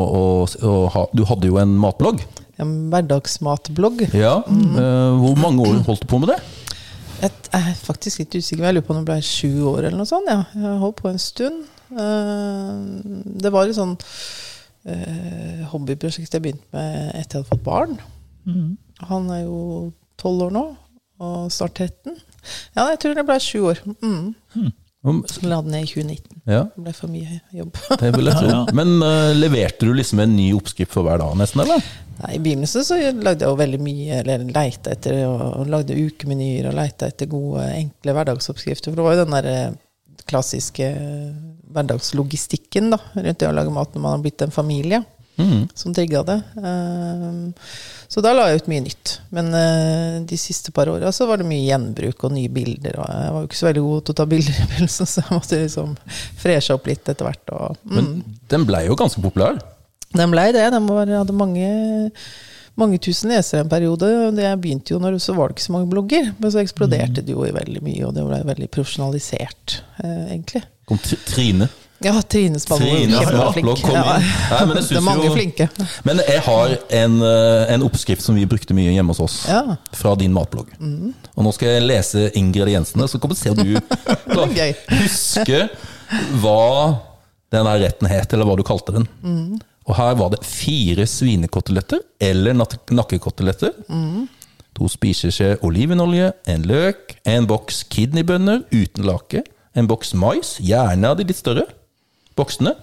S1: å, å ha Du hadde jo en matblogg.
S3: En hverdagsmatblogg.
S1: Ja. eh, Hvor mange år holdt du på med det?
S3: Jeg er faktisk litt usikker. men Jeg lurer på om det ble sju år eller noe sånt. Ja. Jeg holdt på en stund. Eh, Det var et sånn eh, hobbyprosjekt jeg begynte med etter jeg hadde fått barn. Han er jo tolv år nå, og snart 13. Ja, jeg tror det ble sju år. Mm.
S1: Om-
S3: Så la den ned i 2019.
S1: Ja,
S3: Det ble for mye jobb.
S1: det vil jeg tro.
S2: Ja.
S1: Men eh, leverte du liksom en ny oppskrift for hver dag, nesten, eller?
S3: Nei, I begynnelsen så lagde jeg jo veldig mye, eller leita etter og lagde ukemenyer og leita etter gode, enkle hverdagsoppskrifter. For det var jo den der eh, klassiske eh, hverdagslogistikken da, rundt det å lage mat når man har blitt en familie,
S1: Mm.
S3: som trigga det. Ehm, Så da la jeg ut mye nytt. Men eh, de siste par åra så var det mye gjenbruk og nye bilder. Og jeg var jo ikke så veldig god til å ta bilder i begynnelsen, så jeg måtte liksom freshe opp litt etter hvert. Og, mm.
S1: Men den blei jo ganske populær.
S3: Den blei det. Den var, hadde mange, mange tusen lesere en periode. og det- Jeg begynte jo når så var det ikke så mange blogger, men så eksploderte
S1: Mm.
S3: det jo i veldig mye, og det blei veldig profesjonalisert, eh, egentlig.
S1: Kom Tr- Trine.
S3: Ja, Trine Spanvold.
S1: Trine Spanvold
S3: Kjempeflink.
S1: kom inn. Nei, men jeg
S3: det er
S1: synes
S3: mange
S1: jo-
S3: flinke.
S1: Men jeg har en, eh, en oppskrift som vi brukte mye hjemme hos oss.
S3: Ja. Mm.
S1: Fra din matblogg. Og nå skal jeg lese ingrediensene, så kommer vi se om du klarer
S3: Gøy.
S1: huske hva den her retten het, eller hva du kalte den. Og her var det fire svinekoteletter eller nat- nakkekoteletter. To spiseskjeer olivenolje, en løk, en boks kidneybønner uten lake, en boks mais, gjerne av de litt større boksene,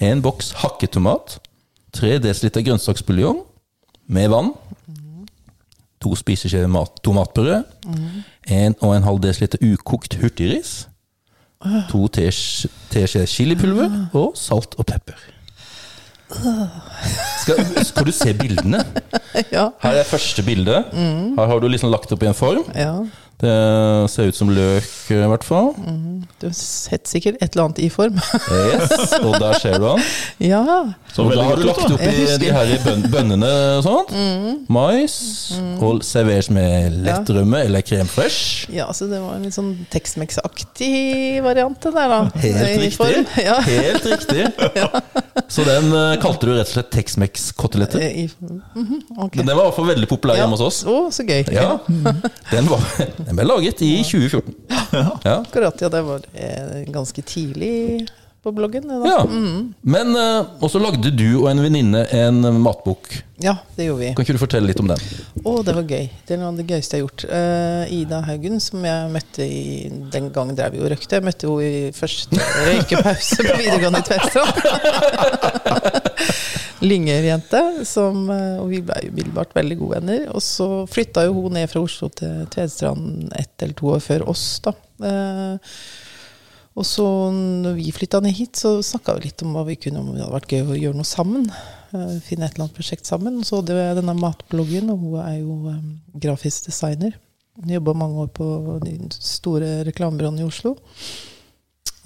S1: en boks hakketomat, 3 dl grønnsaksbuljong med vann, to spiseskjeer mat, tomatpuré, en og en halv desiliter ukokt hurtigris, to tesk- teskjeer chilipulver
S3: Ah.
S1: og salt og pepper. Skal, skal du se bildene?
S3: Ja. Mm.
S1: Her er første bilde. Her har du liksom lagt opp i en form.
S3: ja.
S1: Det ser ut som løk, i hvert fall.
S3: Du setter sikkert et eller annet i form.
S1: Yes, og der ser du han.
S3: ja.
S2: Så
S1: og da
S2: veldig
S1: har du
S2: godt ut,
S1: lagt
S2: da.
S1: oppi
S3: Jeg husker. Mm.
S1: de her i bøn bønnene og sånt. Mais. Og serveres med lett rømme eller krem fresh.
S3: ja, så det var en litt sånn Tex-Mex-aktig variant, det der, da.
S1: Helt
S3: I
S1: riktig.
S3: form. Ja.
S1: Helt riktig. Så den eh, kalte du rett og slett Tex-Mex-koteletter.
S3: I, mhm, ok.
S1: Den var i hvert fall veldig populær hjemme hos oss.
S3: Å, så gøy.
S1: Ja, den, var, den ble laget i 2014. Ja.
S3: Akkurat, ja. Det var eh, ganske tidlig på bloggen. det Da.
S1: ja. Men eh, også lagde du og en venninne en eh, matbok.
S3: ja, det gjorde vi.
S1: Kan ikke du fortelle litt om den?
S3: Å, det var gøy. Det er noe av det gøyeste jeg har gjort. Eh, Ida Haugen, som jeg møtte i Den gangen drev vi og røykte. Jeg møtte henne i første røykepause på videregående i Tvedestrand. Lynger-jente. som, eh, Og vi ble jo umiddelbart veldig gode venner. Og så flytta jo hun ned fra Oslo til Tvedestrand ett eller to år før oss, da. Eh, Og så når vi flytta ned hit, så snakka vi litt om hva vi kunne, om det hadde vært gøy å gjøre noe sammen. eh, Finne et eller annet prosjekt sammen. Og så hadde jeg denne matbloggen, og hun er jo eh, grafisk designer. Hun jobba mange år på de store reklamebyråene i Oslo.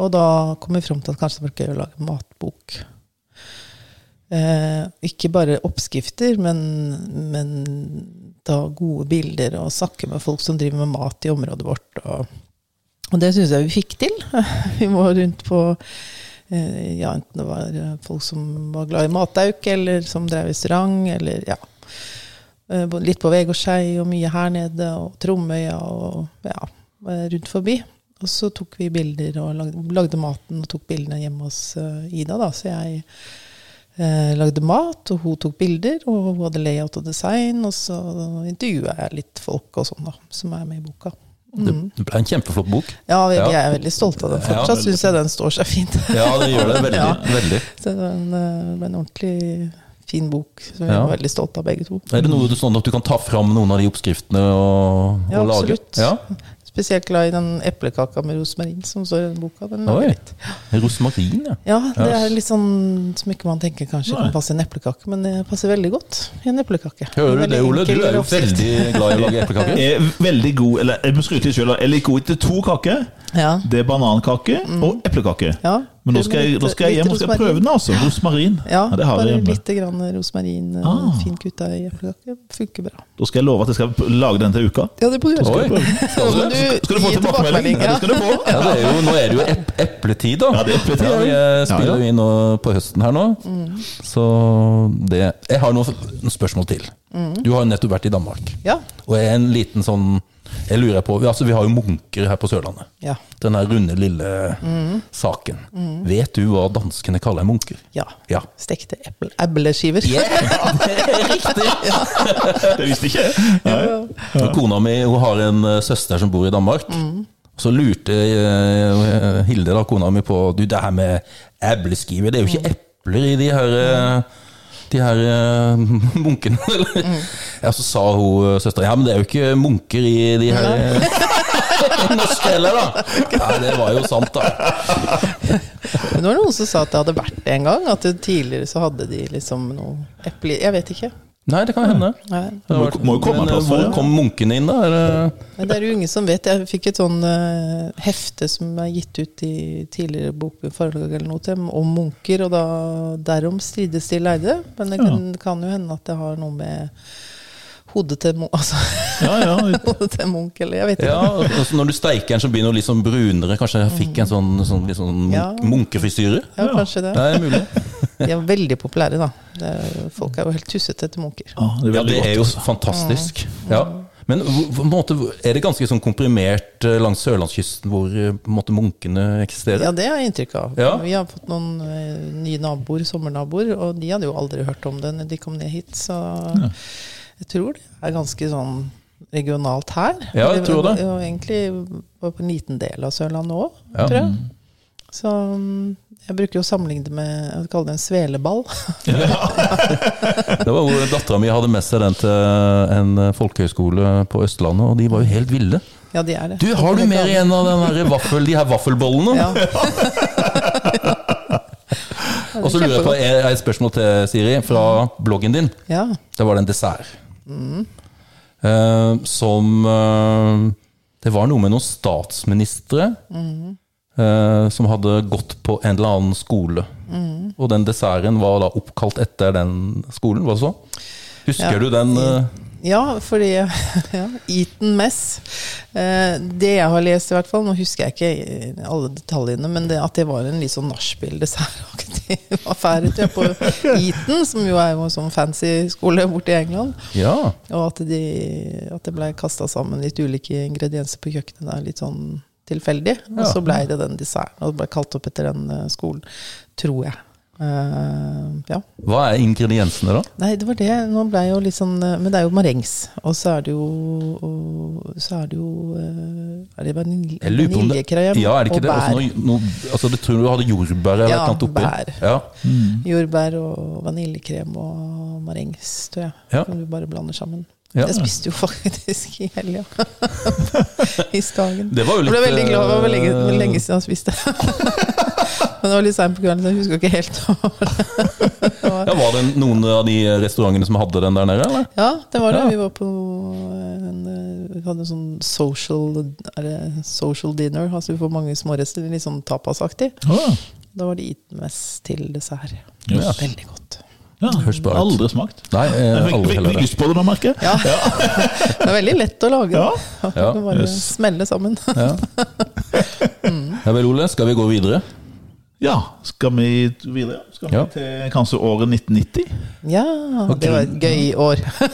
S3: Og da kom vi fram til at kanskje det var gøy å lage matbok. Eh, ikke bare oppskrifter, men, men da gode bilder og snakke med folk som driver med mat i området vårt. og... Og det syns jeg vi fikk til. Vi var rundt på eh, ja, enten det var eh, folk som var glad i matauk, eller som drev restaurant, eller ja. Eh, både Litt på Vegårshei og mye her nede, og Tromøya og ja, eh, rundt forbi. Og så tok vi bilder og lagde, lagde maten og tok bildene hjemme hos eh, Ida, da. Så jeg eh, lagde mat, og hun tok bilder, og hun hadde layout og design, og så intervjua jeg litt folk og sånn, da, som er med i boka.
S1: Det det ble en kjempeflott bok.
S3: Ja, vi,
S1: Ja.
S3: vi er veldig stolte av den.
S1: Ja,
S3: Fortsatt
S1: veldig.
S3: syns jeg den står seg fint.
S1: Ja, det gjør det. Veldig.
S3: Ja.
S1: veldig.
S3: Så det var en, eh, en ordentlig fin bok som vi
S1: Ja.
S3: er veldig stolte av, begge to.
S1: Er det noe du, sånn at du kan ta fram noen av de oppskriftene og,
S3: Ja,
S1: og lage?
S3: absolutt. Spesielt glad i den eplekaka med rosmarin som står i den boka. Den
S1: Oi.
S3: lager litt.
S1: Rosmarin, ja.
S3: Ja, det
S1: Ja.
S3: er litt sånn som ikke man tenker kanskje
S2: Nei.
S3: kan passe i en eplekake, men det passer veldig godt i en eplekake.
S1: Hører du det, Ole? Du
S3: Veldig
S1: er jo
S3: enkel oppskrift.
S1: veldig glad i å lage eplekaker.
S2: Er Eh, veldig god, eller eh, jeg må skryte litt selv, jeg er litt god til to kaker.
S3: Ja.
S2: Det er banankake og eplekake.
S3: Ja.
S2: Men nå skal jeg, nå skal jeg hjem og skal jeg prøve den, altså. Rosmarin.
S3: Ja,
S2: det har jeg
S3: bare
S2: hjemme.
S3: litt grann rosmarin eh,
S2: Ah.
S3: fint kutta i eplekake. Funker bra.
S2: Da skal jeg love at jeg skal lage den til uka.
S3: Ja, det burde du
S1: Oi.
S3: gjøre.
S1: Skal du-
S3: Nå må du
S2: Skal du få
S3: gi
S2: tilbakemelding? Ja,
S3: Ja.
S2: det skal du få.
S1: Ja, det er jo, nå er det jo ep epletid, da.
S2: Ja, det er epletid,
S1: Ja,
S2: ja.
S1: jeg spiller
S2: Ja, ja.
S1: jo inn nå på høsten her nå.
S3: Mm.
S1: Så det Jeg har noen noen spørsmål til. Du har jo nettopp vært i Danmark.
S3: Mm. Ja.
S1: Og jeg er en liten sånn Jeg lurer på altså Vi har jo munker her på Sørlandet.
S3: Ja. Mm.
S1: Den her runde, lille saken. Vet du hva danskene kaller munker?
S3: ja.
S1: Ja.
S3: Stekte eple- epleskiver.
S1: Riktig!
S2: Det visste ikke jeg. Nei.
S1: Og Kona mi hun har en eh, søster som bor i Danmark. Så lurte eh, Hilde, da, kona mi, på Du, det her med epleskiver Det er jo ikke epler i de her eh, de her eh, munkene. Eller? Ja, Så sa hun eh, søstera ja, men det er jo ikke munker i de her eh, norske heller, da. Ja, det var jo sant, da.
S3: Men det var noen som sa at det hadde vært det en gang. At det tidligere så hadde de liksom noe eple... Jeg vet ikke.
S1: Nei, det kan hende.
S3: Nei.
S1: Det har vært-
S2: Må- må jo komme en
S1: Men, eh,
S2: plass for
S1: hvor
S2: det.
S1: kom munkene inn, da? Er det-
S3: Men det er jo ingen som vet. Jeg fikk et sånn eh, hefte som er gitt ut i tidligere bokforlag eller noe til, om munker, og da derom strides de lærde. Men det kan, kan jo hende at det har noe med hodet til Munch Altså
S2: Ja, ja.
S3: hodet til Munch, eller jeg vet ikke.
S1: Ja, og så Når du steiker en, så blir den jo litt sånn brunere. Kanskje jeg fikk en sånn, sånn, litt sånn munk
S3: Ja.
S1: munkefrisyre?
S3: Ja, kanskje det.
S1: Det er mulig.
S3: De er veldig populære, da. Det er, jo- folk er jo helt tussete etter munker.
S2: Ja, det er
S1: Ja,
S2: veldig
S1: det er jo
S2: godt. altså.
S1: fantastisk. Ja. Men hvor- på en måte, er det ganske sånn komprimert eh, langs sørlandskysten hvor eh, på en måte munkene eksisterer?
S3: Ja, det har jeg inntrykk av.
S1: Ja.
S3: Vi har fått noen eh, nye naboer, sommernaboer, og de hadde jo aldri hørt om det når de kom ned hit, så jeg tror det er ganske sånn regionalt her.
S1: Ja, jeg tror det.
S3: Og egentlig var på en liten del av Sørlandet òg,
S1: Ja.
S3: tror jeg. Så mm, jeg bruker jo å sammenligne det med Jeg kaller det en sveleball.
S1: Det var hvor Dattera mi hadde med seg den til en eh, folkehøyskole på Østlandet, og de var jo helt ville.
S3: Ja, de er det.
S1: Du, Har du mer igjen av den her vaffel, de her vaffelbollene?
S3: Ja.
S1: og så lurer jeg på er- er et spørsmål til Siri fra bloggen din.
S3: Ja.
S1: Da var det en dessert. Eh, som eh, Det var noe med noen statsministre eh, som hadde gått på en eller annen skole. Og den desserten var da oppkalt etter den skolen, var det så? Husker
S3: Ja.
S1: du den? eh,
S3: Ja, fordi ja, Eton Mess. Eh, det jeg har lest, i hvert fall, nå husker jeg ikke eh, alle detaljene, men det, at det var en litt sånn nachspiel-dessertaktig affære tror jeg, på Eton, som jo er jo en sånn fancy skole borte i England.
S1: ja.
S3: Og at, de, at det blei kasta sammen litt ulike ingredienser på kjøkkenet der, litt sånn tilfeldig. Og
S1: Ja.
S3: så blei det den desserten, og det blei kalt opp etter den eh, skolen, tror jeg. Eh, ja.
S1: Hva er ingrediensene, da?
S3: Nei, det var det. Nå ble jeg jo litt sånn eh, Men det er jo marengs. Og så er det jo og Så er det jo eh, Er det vanil-
S1: Jeg lurer på om det-
S3: vaniljekrem
S1: Ja, er det ikke
S3: og
S1: det?
S3: bær?
S1: Også noe, noe, altså, du tror du hadde jordbær eller noe
S3: Ja,
S1: annet oppi?
S3: bær.
S1: Ja,
S3: Jordbær og vaniljekrem og marengs, tror jeg.
S1: Ja.
S3: Som du bare blander sammen.
S1: Ja.
S3: Jeg spiste jo faktisk i helga. I Skagen.
S1: Det var jo
S3: Jeg ble
S1: litt,
S3: veldig glad. Det var veldig lenge,
S1: eh,
S3: lenge siden jeg spiste. Men det var litt seint på kvelden, så jeg husker ikke helt. Det var-
S1: Ja, Var det noen av de restaurantene som hadde den der nede, eller?
S3: Ja, det var det.
S1: Ja.
S3: Vi var på en, eh, Vi hadde en sånn social, er det social dinner. Altså vi får mange smårester, litt sånn tapasaktig.
S2: Ah,
S3: Da var det itmess til dessert.
S2: Yes.
S3: Veldig godt.
S2: ja.
S1: Høres bra ut.
S2: Aldri smakt.
S1: Nei,
S2: Jeg
S1: eh,
S2: fikk,
S1: aldri
S2: fikk,
S1: heller
S2: fikk
S1: det.
S2: lyst på det nå, merker jeg.
S3: Ja. det er veldig lett å lage.
S2: Ja.
S3: det.
S1: Ja,
S3: Du kan bare
S2: yes.
S3: smelle sammen.
S1: Ja. ja vel, Ole, skal vi gå videre?
S2: ja. Skal vi videre? Skal vi
S1: Ja.
S2: til kanskje året 1990?
S3: Ja, det var et gøy år.
S2: Ha,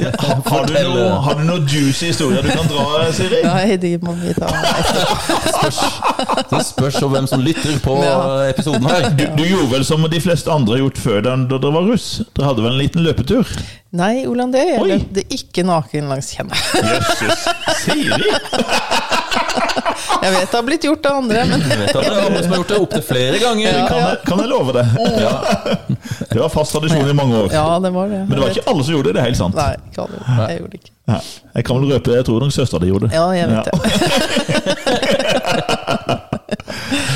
S2: har, du
S1: Fortell,
S2: noe,
S1: eh.
S2: har du noe juicy historier du kan dra, Siri?
S3: Nei, de må vi ta etterpå.
S1: Det spørs om hvem som lytter på
S3: Ja.
S1: eh, episoden her.
S2: Du, du gjorde vel som de fleste andre har gjort før da da dere var russ? Dere hadde vel en liten løpetur?
S3: Nei, Olan, det
S2: Oi.
S3: jeg løpte ikke naken langs kjennet.
S2: Jøsses. Siri!
S3: Jeg vet det har blitt gjort av andre, men
S1: Jeg vet at det er andre som har gjort det opptil flere ganger.
S2: Kan, jeg, kan jeg love det? Det var fast tradisjon i mange år.
S3: ja, det var det.
S2: Men det var ikke alle som gjorde det, det er helt sant.
S3: Nei, ikke alle. Jeg gjorde det ikke.
S2: Nei. Jeg kan vel røpe, jeg tror nok søstera di gjorde det.
S3: Ja, jeg vet det.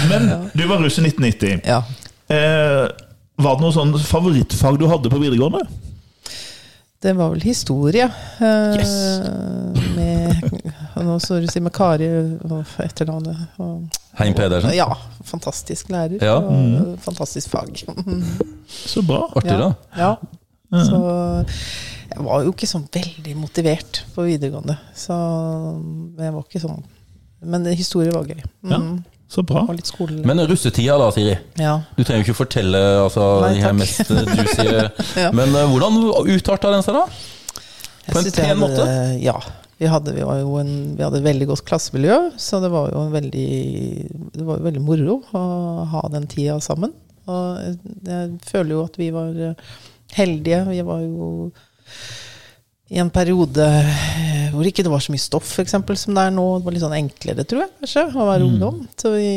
S2: Men du var russ i 1990.
S3: Ja.
S2: Eh, var det noe sånn favorittfag du hadde på videregående?
S3: Det var vel historie. eh,
S2: Yes.
S3: Med, og nå så du si med Kari og etternavnet. Og,
S1: Heim Pedersen.
S3: ja, fantastisk lærer.
S1: Ja.
S3: Og fantastisk fag.
S2: Så bra.
S1: Artig, da.
S3: Ja. Så jeg var jo ikke sånn veldig motivert på videregående. Så jeg var ikke sånn Men historie var gøy. Mm.
S2: Ja, så bra.
S3: Og litt skole.
S1: Men russetida da, Siri.
S3: ja.
S1: Du trenger jo ikke fortelle altså,
S3: Nei,
S1: de her
S3: takk.
S1: mest eh, juicy
S3: Ja.
S1: Men eh, hvordan utarta den seg, da?
S3: Jeg
S1: På en
S3: synes jeg
S1: pen
S3: hadde- Ja. Vi hadde, vi, var jo en, vi hadde et veldig godt klassemiljø, så det var jo en veldig, det var jo veldig moro å ha den tida sammen. Og jeg- jeg føler jo at vi var eh, heldige. Vi var jo i en periode eh, hvor ikke det var så mye stoff for eksempel, som det er nå. Det var litt sånn enklere, tror jeg, kanskje, å være
S1: Mm.
S3: ungdom. Så vi,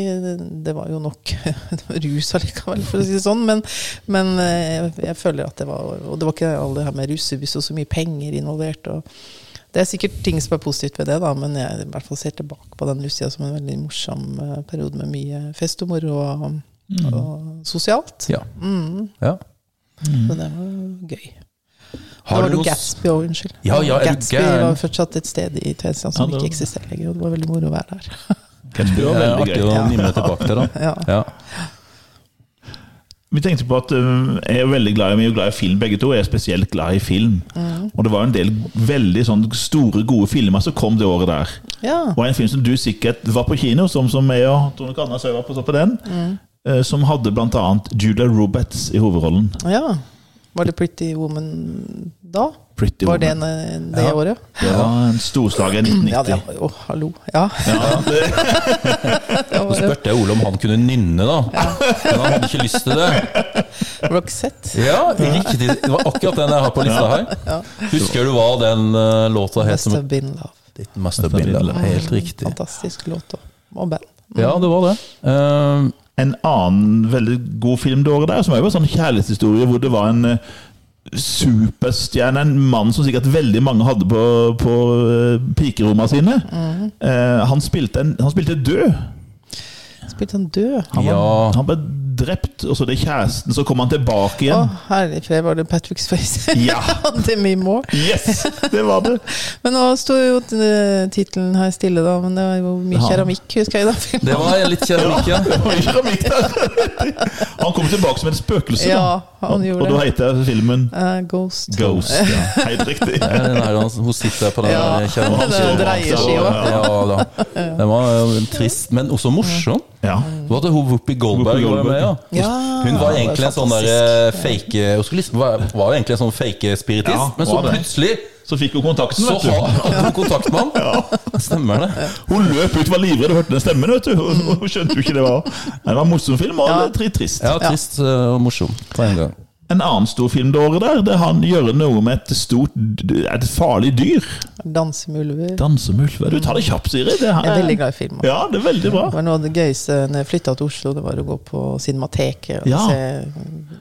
S3: det var jo nok det var rus allikevel, for å si det sånn. Men, men eh, jeg føler at det var Og det var ikke all det her med russebuss og så mye penger involvert. og det er sikkert ting som er positivt ved det, da, men jeg i hvert fall ser tilbake på den russetida som en veldig morsom eh, periode med mye fest og moro og,
S1: Mm.
S3: og sosialt.
S1: Ja. ja.
S3: Så det var jo gøy.
S1: Har
S3: det var
S1: du
S3: jo
S1: noe s-
S3: Gatsby òg, unnskyld.
S1: Ja, ja, er du
S3: Gatsby
S1: gæren?
S3: var fortsatt et sted i Tvedestrand som
S2: Ja, det var-
S3: ikke eksisterer lenger, og det var veldig moro å være der.
S2: Det
S1: Det
S2: var
S1: er
S3: Eh,
S2: veldig
S1: artig
S2: gøy.
S1: å nimle tilbake til, da.
S3: Ja.
S1: Ja.
S2: Vi tenkte på at øhm, jeg er veldig glad i, vi er jo glad i film, begge to. og Jeg er spesielt glad i film. Og det var en del veldig sånn store, gode filmer som kom det året der.
S3: Ja.
S2: Og en film som du sikkert var på kino, som, som jeg og Tone Kannas var på, så på den, eh, som hadde blant annet Julia Roberts i hovedrollen.
S3: ja. Var det Pretty Woman da?
S2: Pretty
S3: Var det
S2: Woman.
S3: en, eh, det
S1: Ja.
S3: året?
S2: Det var en storslager i
S3: Ja, det
S2: 1990.
S3: var jo Hallo. Ja. det
S1: Så
S3: var det.
S1: spurte jeg Ole om han kunne nynne, da. Men han hadde ikke lyst til det.
S3: Roxette.
S1: Ja, riktig. Det var akkurat den jeg har på lista her. Husker du hva den eh, låta het?
S3: Best
S1: som-
S3: of Been Love.
S1: Ditt Must have been love. Helt riktig.
S3: Fantastisk låt og, og band.
S1: Ja, det var det. Eh,
S2: En annen veldig god film det året der, som også var en sånn kjærlighetshistorie, hvor det var en eh, superstjerne, en mann som sikkert veldig mange hadde på, på eh, pikeromma sine.
S3: Mhm.
S2: Eh, han, spilte en, han spilte død.
S3: Spilte han død?
S2: Han, var,
S1: Ja.
S2: han ble drept, og så det er kjæresten, så kommer han tilbake
S3: Å,
S2: igjen.
S3: herlig fred, var det Patrick Swayze?
S2: Ja.
S3: Og Demi Moore.
S2: Yes! Det var det.
S3: Men nå sto jo eh, tittelen her stille, da. Men det var jo mye
S2: Ja.
S3: keramikk, husker jeg, i den filmen.
S1: Det var litt keramikk, ja.
S2: Det var ikke keramikk der. Han kom tilbake som et spøkelse, da.
S3: Ja, han gjorde
S2: og da
S3: det.
S2: heter filmen
S3: Eh, Ghost.
S2: Ghost. Ja. Helt riktig.
S1: Det er Den der, han- hun sitter der på den
S3: Ja.
S1: der
S2: Og han
S1: keramikk.
S3: Den
S2: står bak
S3: dreier
S2: seg,
S3: seg jo.
S2: og-
S1: Ja da. Den var eh, trist, men også morsom.
S2: Ja.
S1: Hva hadde hun Whoopi Goldberg
S2: Whoopi
S1: var med, ja?
S3: Ja,
S1: Hun var egentlig en sånn der eh,
S3: fantastisk.
S1: fake Hun skulle liksom, var, var jo egentlig en sånn fake spiritist,
S2: Ja,
S1: men så
S2: var det.
S1: plutselig
S2: Så fikk hun kontakten,
S1: så
S2: vet
S1: har-
S2: du.
S1: hadde hun kontakt med ham. Stemmer det?
S2: Hun løp ut, var livredd og hørte den stemmen, vet du. Hun, hun skjønte jo ikke det var Det var en morsom film, og
S3: Ja.
S2: litt trist.
S1: Ja, trist eh, og morsom på en gang.
S2: En annen stor film det året der, det er han gjør noe med et stort, et farlig dyr.
S1: eh,
S3: Dansemulver.
S2: Dansemulv. Du tar det kjapt, Siri. Det her
S3: Jeg er
S2: er-
S3: veldig glad i film. altså.
S2: Ja, det er veldig
S3: Det
S2: bra.
S3: var noe av det gøyeste når jeg flytta til Oslo, det var å gå på Cinemateket og
S2: Ja.
S3: se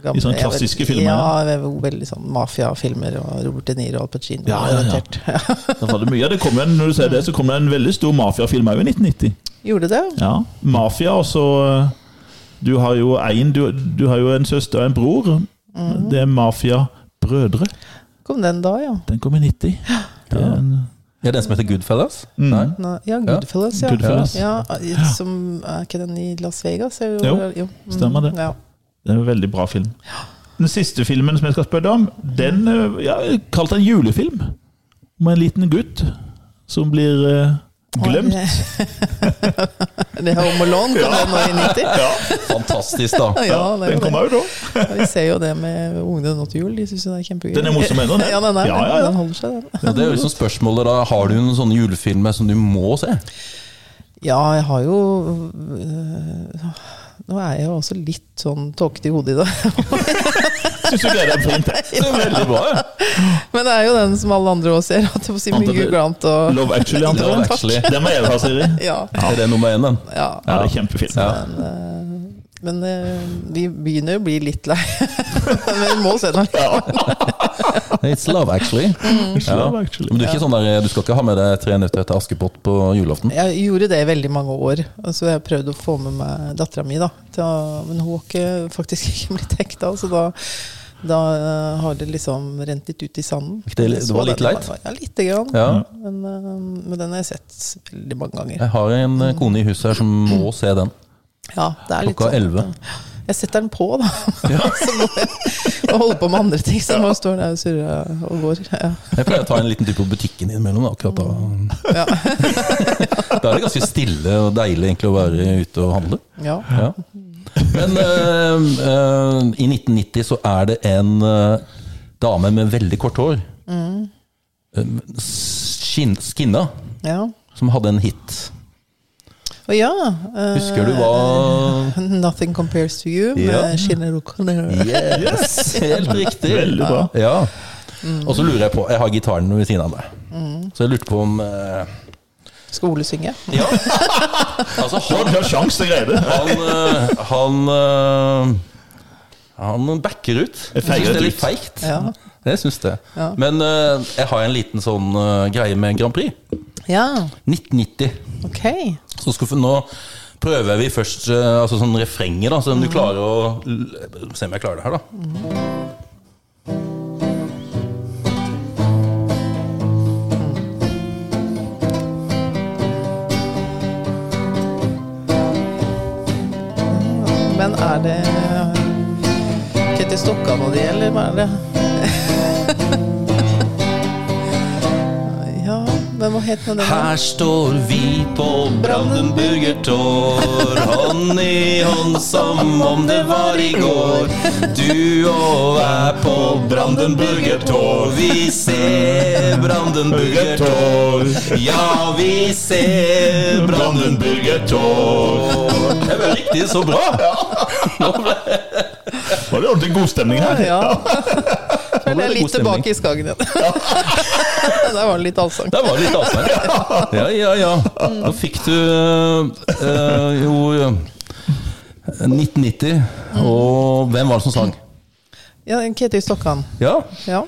S3: gamle
S2: De sånne klassiske
S3: jeg vet-
S2: filmer,
S3: Ja,
S2: ja.
S3: jeg var veldig sånn mafiafilmer og Robert De Niro og Al Pacino.
S2: Ja, ja, ja.
S3: relatert.
S2: Da var det mye. Det kom en, når du ser det, så kom det en veldig stor mafiafilm òg i 1990.
S3: Gjorde det?
S2: Ja, Mafia, og så eh, Du har jo en, du, du har jo en søster og en bror.
S3: Mhm.
S2: Det er Mafia Brødre.
S3: Kom den da, ja.
S2: Den kom i 90. Det er en,
S1: Ja, den som heter Goodfellas?
S2: Mm.
S1: Nei?
S3: Nei, Ja, Goodfellas, ja.
S2: Goodfellas.
S3: Ja, som, er ikke den i Las Vegas? Er
S2: Jo,
S3: Mm,
S2: stemmer det.
S3: Ja.
S2: det er en veldig bra film. Den siste filmen som jeg skal spørre deg om, den
S3: Mm.
S2: eh, ja, jeg kalte en julefilm. Om en liten gutt som blir eh, glemt.
S3: det er Home Alone, kom den nå i 90?
S2: Ja,
S1: Fantastisk, da.
S3: Ja, det er
S2: den
S3: jo
S2: kom
S3: det.
S2: òg da.
S3: Ja, Vi ser jo det med Ungdom nå til jul, de syns den er kjempegøy.
S2: Den er morsom ennå, den.
S3: Ja, den, er,
S2: Ja, ja, ja.
S3: den holder seg, den.
S1: Ja, det er jo liksom spørsmålet da Har du noen sånne julefilmer som du må se?
S3: Ja, jeg har jo øh, Nå er jeg jo også litt sånn tåkete i hodet i dag.
S2: Syns du det er fint? Det er veldig bra. ja.
S3: Men det er jo den som alle andre òg ser. At jeg får si mye Grant og
S2: Love Actually, antar
S1: Love
S2: jeg.
S1: Actually.
S2: Den må jeg ha, Siri.
S3: Ja.
S1: Er det nummer én, den?
S3: ja.
S2: Ja, det er kjempefilm.
S1: Ja.
S3: Men, øh, men øh, vi begynner jo å bli litt lei. men vi må se den.
S1: It's love, actually.
S2: It's Mm. Love Actually.
S1: Men du, er ikke sånn der, du skal ikke ha med deg Tre nøtter til Askepott på julaften?
S3: Jeg gjorde det i veldig mange år. Og så har jeg prøvd å få med meg dattera mi, da. Til å, men hun har ikke, faktisk ikke blitt hekta, så da, da øh, har det liksom rent litt ut i sanden.
S1: Ikke det- det
S3: Så
S1: var litt
S3: den-
S1: leit?
S3: Ja, lite grann.
S1: Ja.
S3: Men, øh, men den har jeg sett veldig mange ganger.
S1: Jeg har en eh, kone i huset her som må se den.
S3: Ja, det er litt
S1: Klokka
S3: sånn at,
S1: 11.
S3: ja. Jeg setter den på, da. så må jeg og holder på med andre ting. Så nå står den der og surrer og går. Ja.
S1: Jeg pleier å ta en liten tur på butikken innimellom. da, akkurat Da
S3: Ja.
S1: Da er det ganske stille og deilig egentlig å være ute og handle.
S3: Ja.
S1: Ja. Men eh, eh, i 1990 så er det en eh, dame med veldig kort hår, mm. Skinna,
S3: ja.
S1: som hadde en hit.
S3: Og ja eh,
S1: Husker du hva
S3: Nothing compares to you
S1: Ja.
S3: med Shinner O'Connor.
S1: Yes, helt riktig.
S2: Veldig bra.
S1: Ja. Og så lurer jeg på Jeg har gitaren ved siden av deg. Så jeg lurte på om eh,
S3: Skolesynge.
S1: Ja. Altså,
S2: Ja,
S1: han
S2: vi har sjans til å greie det.
S1: Han eh, Han, eh, han backer ut. Jeg
S2: feiger
S1: syns det er litt
S2: ut.
S1: feigt.
S3: Ja.
S1: Jeg syns det.
S3: Ja.
S1: Men eh, jeg har en liten sånn eh, greie med Grand Prix.
S3: Ja,
S1: 1990.
S3: ok.
S1: Så skal vi, nå prøver vi først eh, altså sånn refrenget, da, så om du klarer å l- Se om jeg klarer det her, da.
S3: Men er det Ketil Stokkan og de, eller hva er det? ja, men hva het nå den? da?
S1: Her står vi på Brandenburger Tor, hånd i hånd som om det var i går. Du og jeg på Brandenburger Tor, vi ser Brandenburger Tor. Ja, vi ser Brandenburger
S2: Brandenburger Tor.
S1: Tor. Det var riktig så bra!
S2: Var det ordentlig god stemning her?
S3: Ja.
S1: Nå
S3: Føler
S1: ble det god
S3: jeg litt
S1: stemning.
S3: tilbake i skagen igjen. Der var det litt allsang.
S1: Der var det litt avstand. Ja, ja, ja. Nå fikk du eh, jo eh, 1990, og hvem var det som sang?
S3: Ja, Ketil Stokkan.
S1: Ja,
S3: Ja.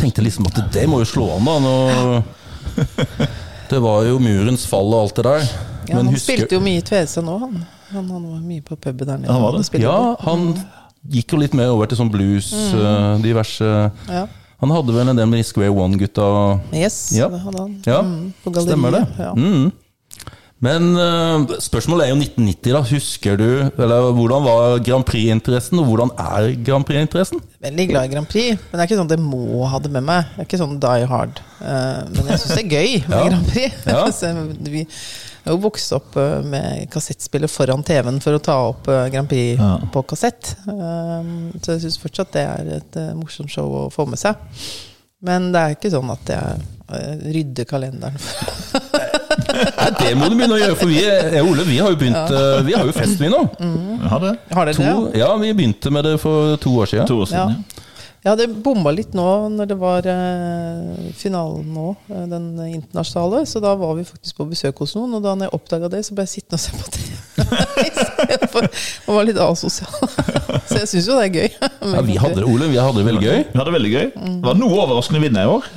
S1: tenkte liksom at det må jo slå an, da. Nå. Det var jo murens fall og alt det der.
S3: Ja,
S1: Men
S3: han
S1: husker
S3: spilte jo mye i Tvese nå, han. Han, han var mye på puben der nede.
S2: Han var det?
S3: og spilte
S1: Ja,
S3: litt.
S1: han gikk jo litt mer over til sånn blues, eh, diverse
S3: Mm. ja.
S1: Han hadde vel en del med de Square One-gutta. og-
S3: Yes,
S1: Ja.
S3: det hadde han.
S1: Ja,
S3: Mm, på galleriet.
S1: stemmer det.
S3: Ja.
S1: Mm. Men eh, spørsmålet er jo 1990, da. Husker du eller Hvordan var Grand Prix-interessen, og hvordan er Grand Prix-interessen?
S3: Veldig glad i Grand Prix, men det er ikke sånn at jeg må ha det med meg. Det er ikke sånn die hard. Eh, men jeg syns det er gøy med
S1: Ja.
S3: Grand Prix.
S1: Ja.
S3: Så vi har jo vokst opp eh, med kassettspillet foran TV-en for å ta opp eh, Grand Prix
S2: Ja.
S3: på kassett. Eh, så jeg syns fortsatt det er et eh, morsomt show å få med seg. Men det er ikke sånn at jeg eh, rydder kalenderen.
S1: Nei, det må du begynne å gjøre, for vi, jeg og Ole, vi har jo begynt eh, Vi har jo fest, vi nå.
S3: Mm,
S2: Ja, det.
S3: Har dere
S1: To,
S3: det?
S1: ja, vi begynte med det for to år siden.
S2: To år
S3: Ja.
S2: siden, ja.
S3: Ja, det bomma litt nå når det var eh, finalen nå, eh, den internasjonale. Så da var vi faktisk på besøk hos noen, og da når jeg oppdaga det, så ble jeg sittende og se på TV. Istedenfor å være litt asosial. så jeg syns jo det er gøy.
S1: Ja, vi hadde det, Ole. Vi hadde det veldig gøy.
S2: Vi hadde det veldig gøy. Det
S3: Mm.
S2: var noe overraskende vinner i år.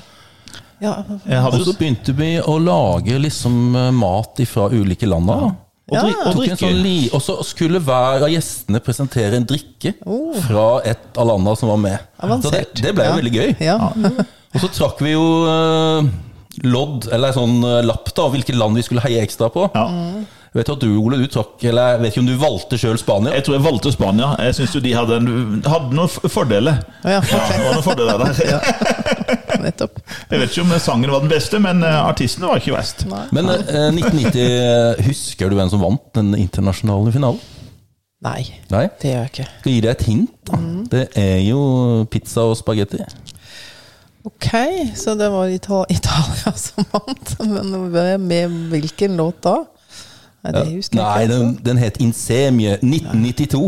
S3: Ja,
S2: Jeg
S1: Og
S2: hadde
S1: så begynte vi å lage liksom eh, mat fra ulike land. da.
S2: og, dri
S1: Tok
S2: og
S1: en
S2: drikke.
S1: Sånn li, og så skulle hver av gjestene presentere en drikke
S3: Oh.
S1: fra et av landene som var med. Så det,
S3: avansert.
S1: det ble jo
S3: Ja.
S1: veldig gøy.
S3: Ja.
S1: Og så trakk vi jo eh, lodd, eller sånn eh, lapp, da, hvilket land vi skulle heie ekstra på.
S2: Ja.
S1: Jeg vet at du, Ole, du trakk, eller jeg vet ikke om du valgte sjøl Spania.
S2: Jeg tror jeg valgte Spania. Jeg syns jo de hadde, en, hadde noen f- fordeler.
S3: Å ja,
S2: Ja, det var noen fordeler der.
S3: nettopp.
S2: Jeg vet ikke om sangen var den beste, men eh, artisten var ikke verst.
S3: Nei.
S1: Men eh, 1990, eh, husker du hvem som vant den internasjonale finalen?
S3: Nei,
S1: Nei?
S3: det gjør jeg ikke.
S1: Skal jeg gi deg et hint, da. Det er jo pizza og spagetti.
S3: Ok, så det var Ita- Italia som vant. Men hvem- med hvilken låt da? Nei, det husker
S1: Nei,
S3: jeg ikke.
S1: den, den het Insemie 1992.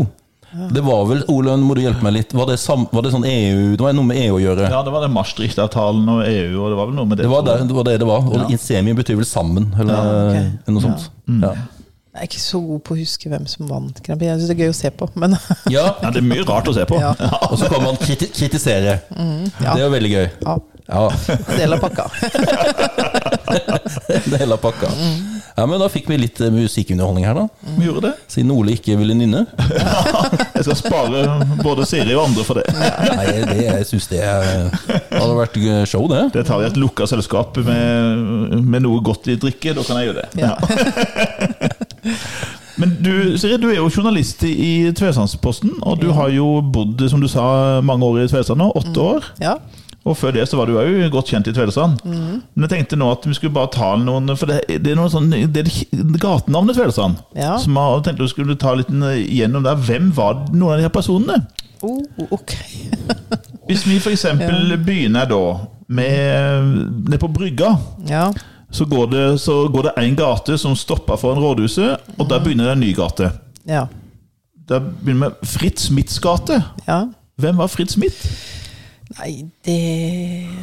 S1: Det var vel, Ole, nå må du hjelpe meg litt. Var det, sam, var det sånn EU Det var noe med EU å gjøre?
S2: Ja, det var den Maastricht-avtalen og EU, og det var vel noe med det.
S1: Det var det det var. Det det var. Og
S2: Ja.
S1: Insemie betyr vel sammen, eller
S3: Ja, Mm. ok.
S1: noe sånt. Mm. Ja.
S3: Jeg er ikke så god på å huske hvem som vant Grand Prix. Jeg syns det er gøy å se på, men
S1: Ja,
S2: Ja, det er mye rart å se på.
S3: Ja.
S2: Ja.
S1: Og så kan man kriti kritisere.
S3: Mm. ja.
S1: Det er jo veldig gøy.
S3: ja,
S1: Ja,
S3: del av pakka.
S1: det er hele pakka.
S3: Mm.
S1: Ja, Men da fikk vi litt eh, musikkunderholdning her, da.
S2: Vi gjorde det.
S1: Siden Ole ikke ville nynne.
S2: Jeg skal spare eh, både Siri og andre for det.
S1: Nei, det jeg syns det er- hadde vært gøy show, det.
S2: Det tar jeg i et lukka selskap med, med noe godt i drikke. Da kan jeg gjøre det.
S3: Ja.
S2: Men du, Siri, du er jo journalist i Tvesandsposten, og du har jo bodd som du sa, mange år i Tvedestrand nå. Åtte år.
S3: Ja.
S2: Og før det så var du òg godt kjent i Tvedestrand.
S3: Mm.
S2: Men jeg tenkte nå at vi skulle bare ta noen For det, det er noen sånn, det er det gatenavnet Tvedestrand.
S3: Ja.
S2: Så jeg tenkte du skulle ta litt gjennom der. Hvem var noen av de her personene?
S3: Oh, ok.
S2: Hvis vi f.eks. eksempel begynner da med ned på brygga.
S3: Ja.
S2: Så går det, så går det en gate som stopper foran rådhuset, og
S3: Mm.
S2: der begynner det en ny gate.
S3: Ja.
S2: Der begynner vi med Fritz Smiths gate.
S3: ja.
S2: Hvem var Fritz Smith?
S3: Nei, det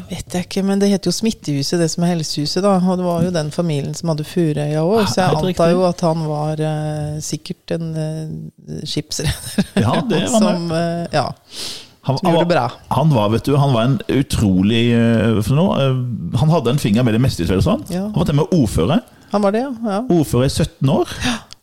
S3: vet jeg ikke, men det heter jo Smittehuset, det som er helsehuset, da. Og det var jo den familien som hadde Furøya òg, så jeg
S2: Ah, Helt riktig.
S3: antar jo at han var eh, sikkert en uh, skipsreder
S2: Ja, det var han.
S3: som eh, Ja.
S2: Han,
S3: Som gjorde det bra.
S2: var, han var, vet du, han var en utrolig eh, for noe, eh, Han hadde en finger med det meste i Tvedestrand.
S3: Ja.
S2: Han var til og med ordfører.
S3: Han var det, ja. ja.
S2: Ordfører i 17 år.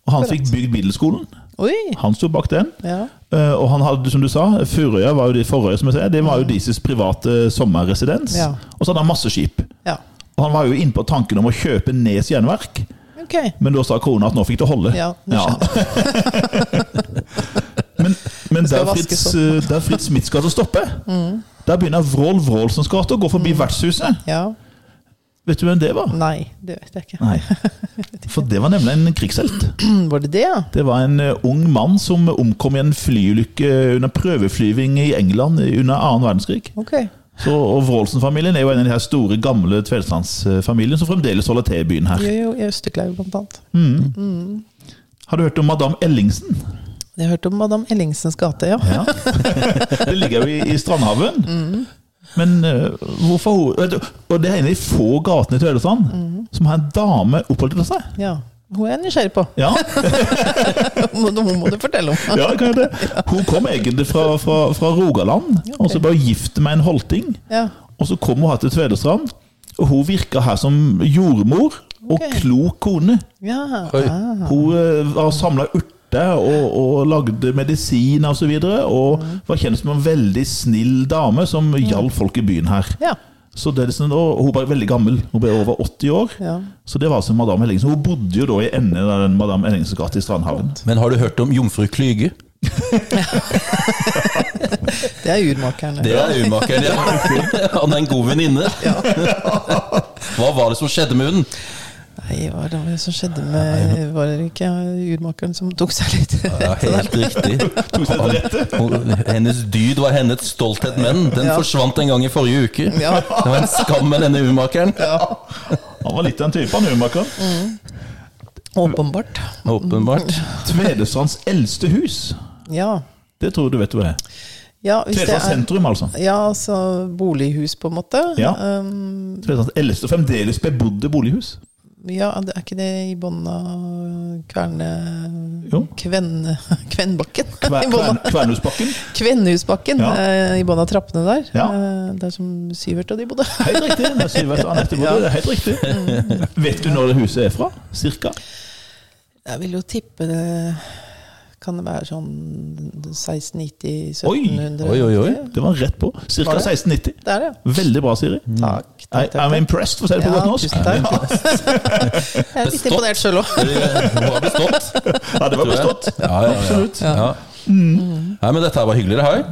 S2: Og han fikk bygd Middelskolen.
S3: Oi!
S2: Han sto bak den.
S3: Ja.
S2: Eh, Og han hadde, som du sa, Furøya var jo de forrige, som jeg sier. Det var jo deres private eh, sommerresidens.
S3: Ja.
S2: Og så hadde han masse skip.
S3: ja.
S2: Og han var jo inne på tanken om å kjøpe Nes jernverk.
S3: Ok.
S2: Men da sa kona at nå fikk det holde.
S3: Ja, nå
S2: men men
S3: skal
S2: der, Fritz,
S3: vaskes Mm.
S2: eh, der Fritz Smiths gate stopper, der begynner Vrål Vrålsens gate å gå forbi vertshuset.
S3: Ja.
S2: Vet du hvem det var?
S3: Nei, det vet jeg ikke.
S2: Nei. For det var nemlig en krigshelt.
S3: Var det det, ja?
S2: Det var en eh, ung mann som omkom i en flyulykke under prøveflyving i England under annen verdenskrig.
S3: Ok.
S2: Så, og Vrålsen-familien er jo en av de her store, gamle tvedestandsfamiliene som fremdeles holder til i byen her.
S3: Jo, jo, i Østerkleiv blant annet.
S2: Har du hørt om madame Ellingsen?
S3: Jeg har hørt om Madame Ellingsens gate, ja.
S2: Ja. Det ligger jo i, i Strandhaven. Men eh, hvorfor hun vet du, Og det er en av de få gatene i Tvedestrand som har en dame oppholdt seg.
S3: ja. Hun er jeg nysgjerrig på.
S2: Ja,
S3: Hun hun må du fortelle om.
S2: ja kan jeg det? Hun kom egentlig fra, fra, fra Rogaland, og så bare gifte med en holting.
S3: Ja.
S2: Og så kom hun her til Tvedestrand, og hun virka her som jordmor og
S3: Ok.
S2: klok kone.
S3: ja.
S1: Oi.
S3: Ah.
S2: Hun eh, var samla urter smerte og, og lagde medisin osv. Og, så videre, og var kjent som en veldig snill dame som hjalp folk i byen her.
S3: Ja.
S2: Så det er liksom, og Hun ble veldig gammel, hun ble over 80 år.
S3: Ja.
S2: Så det var som Madame Ellingsen. Hun bodde jo da i enden av den Madame Ellingsens gate i Strandhagen.
S1: Men har du hørt om Jomfru Klyge?
S3: Det er urmakerne.
S1: Det er urmakeren, ja. Han er en god venninne. Hva var det som skjedde med hunden?
S3: Nei, hva var det som skjedde med Var det ikke urmakeren som tok seg litt
S1: Ja, helt riktig.
S2: Tok seg til rette.
S1: Hun- Hennes dyd var hennes stolthet, men den
S3: Ja.
S1: forsvant en gang i forrige uke.
S3: Ja.
S1: Det var en skam med denne urmakeren.
S2: Han var litt av en type, han urmakeren.
S3: Åpenbart.
S1: Åpenbart.
S2: Tvedestrands eldste hus.
S3: Ja.
S2: Det tror jeg du vet hva det er.
S3: ja hvis det
S2: Tvedestrand
S3: er
S2: sentrum, altså.
S3: ja, altså bolighus, på en måte.
S2: Ja.
S3: Um,
S2: Tvedestrands eldste og fremdeles bebodde bolighus.
S3: ja, det er ikke det i bånn av Kverne...
S2: Jo.
S3: Kven, Kvenbakken?
S2: Kver-
S3: I bånn
S2: Kvern-
S3: av-
S2: Kvernhusbakken.
S3: Kvennehusbakken
S2: Ja.
S3: eh, i bånn av trappene der.
S2: Ja.
S3: Eh, Der som Syvert og de bodde.
S2: Helt riktig. det er Sivert og Anette bodde. Det er Helt riktig.
S3: Mm.
S2: Vet du når det huset er fra? Cirka?
S3: Jeg vil jo tippe det Kan det være sånn 1690-1700?
S1: Oi, oi, oi.
S2: Det var rett på. Cirka
S3: Var det?
S2: 1690.
S3: Det er det.
S2: Veldig bra, Siri.
S3: Takk. takk,
S2: I,
S3: takk,
S2: I'm
S3: takk.
S2: impressed, for å si det på
S3: Ja,
S2: godt norsk.
S3: tusen takk. Jeg er litt
S1: Bestått.
S3: imponert sjøl òg.
S1: Hun har bestått.
S2: Ja, det var
S1: tror jeg.
S2: bestått.
S1: Ja, ja, ja.
S2: Absolutt.
S1: Ja. Nei, men dette her var hyggelig, det her.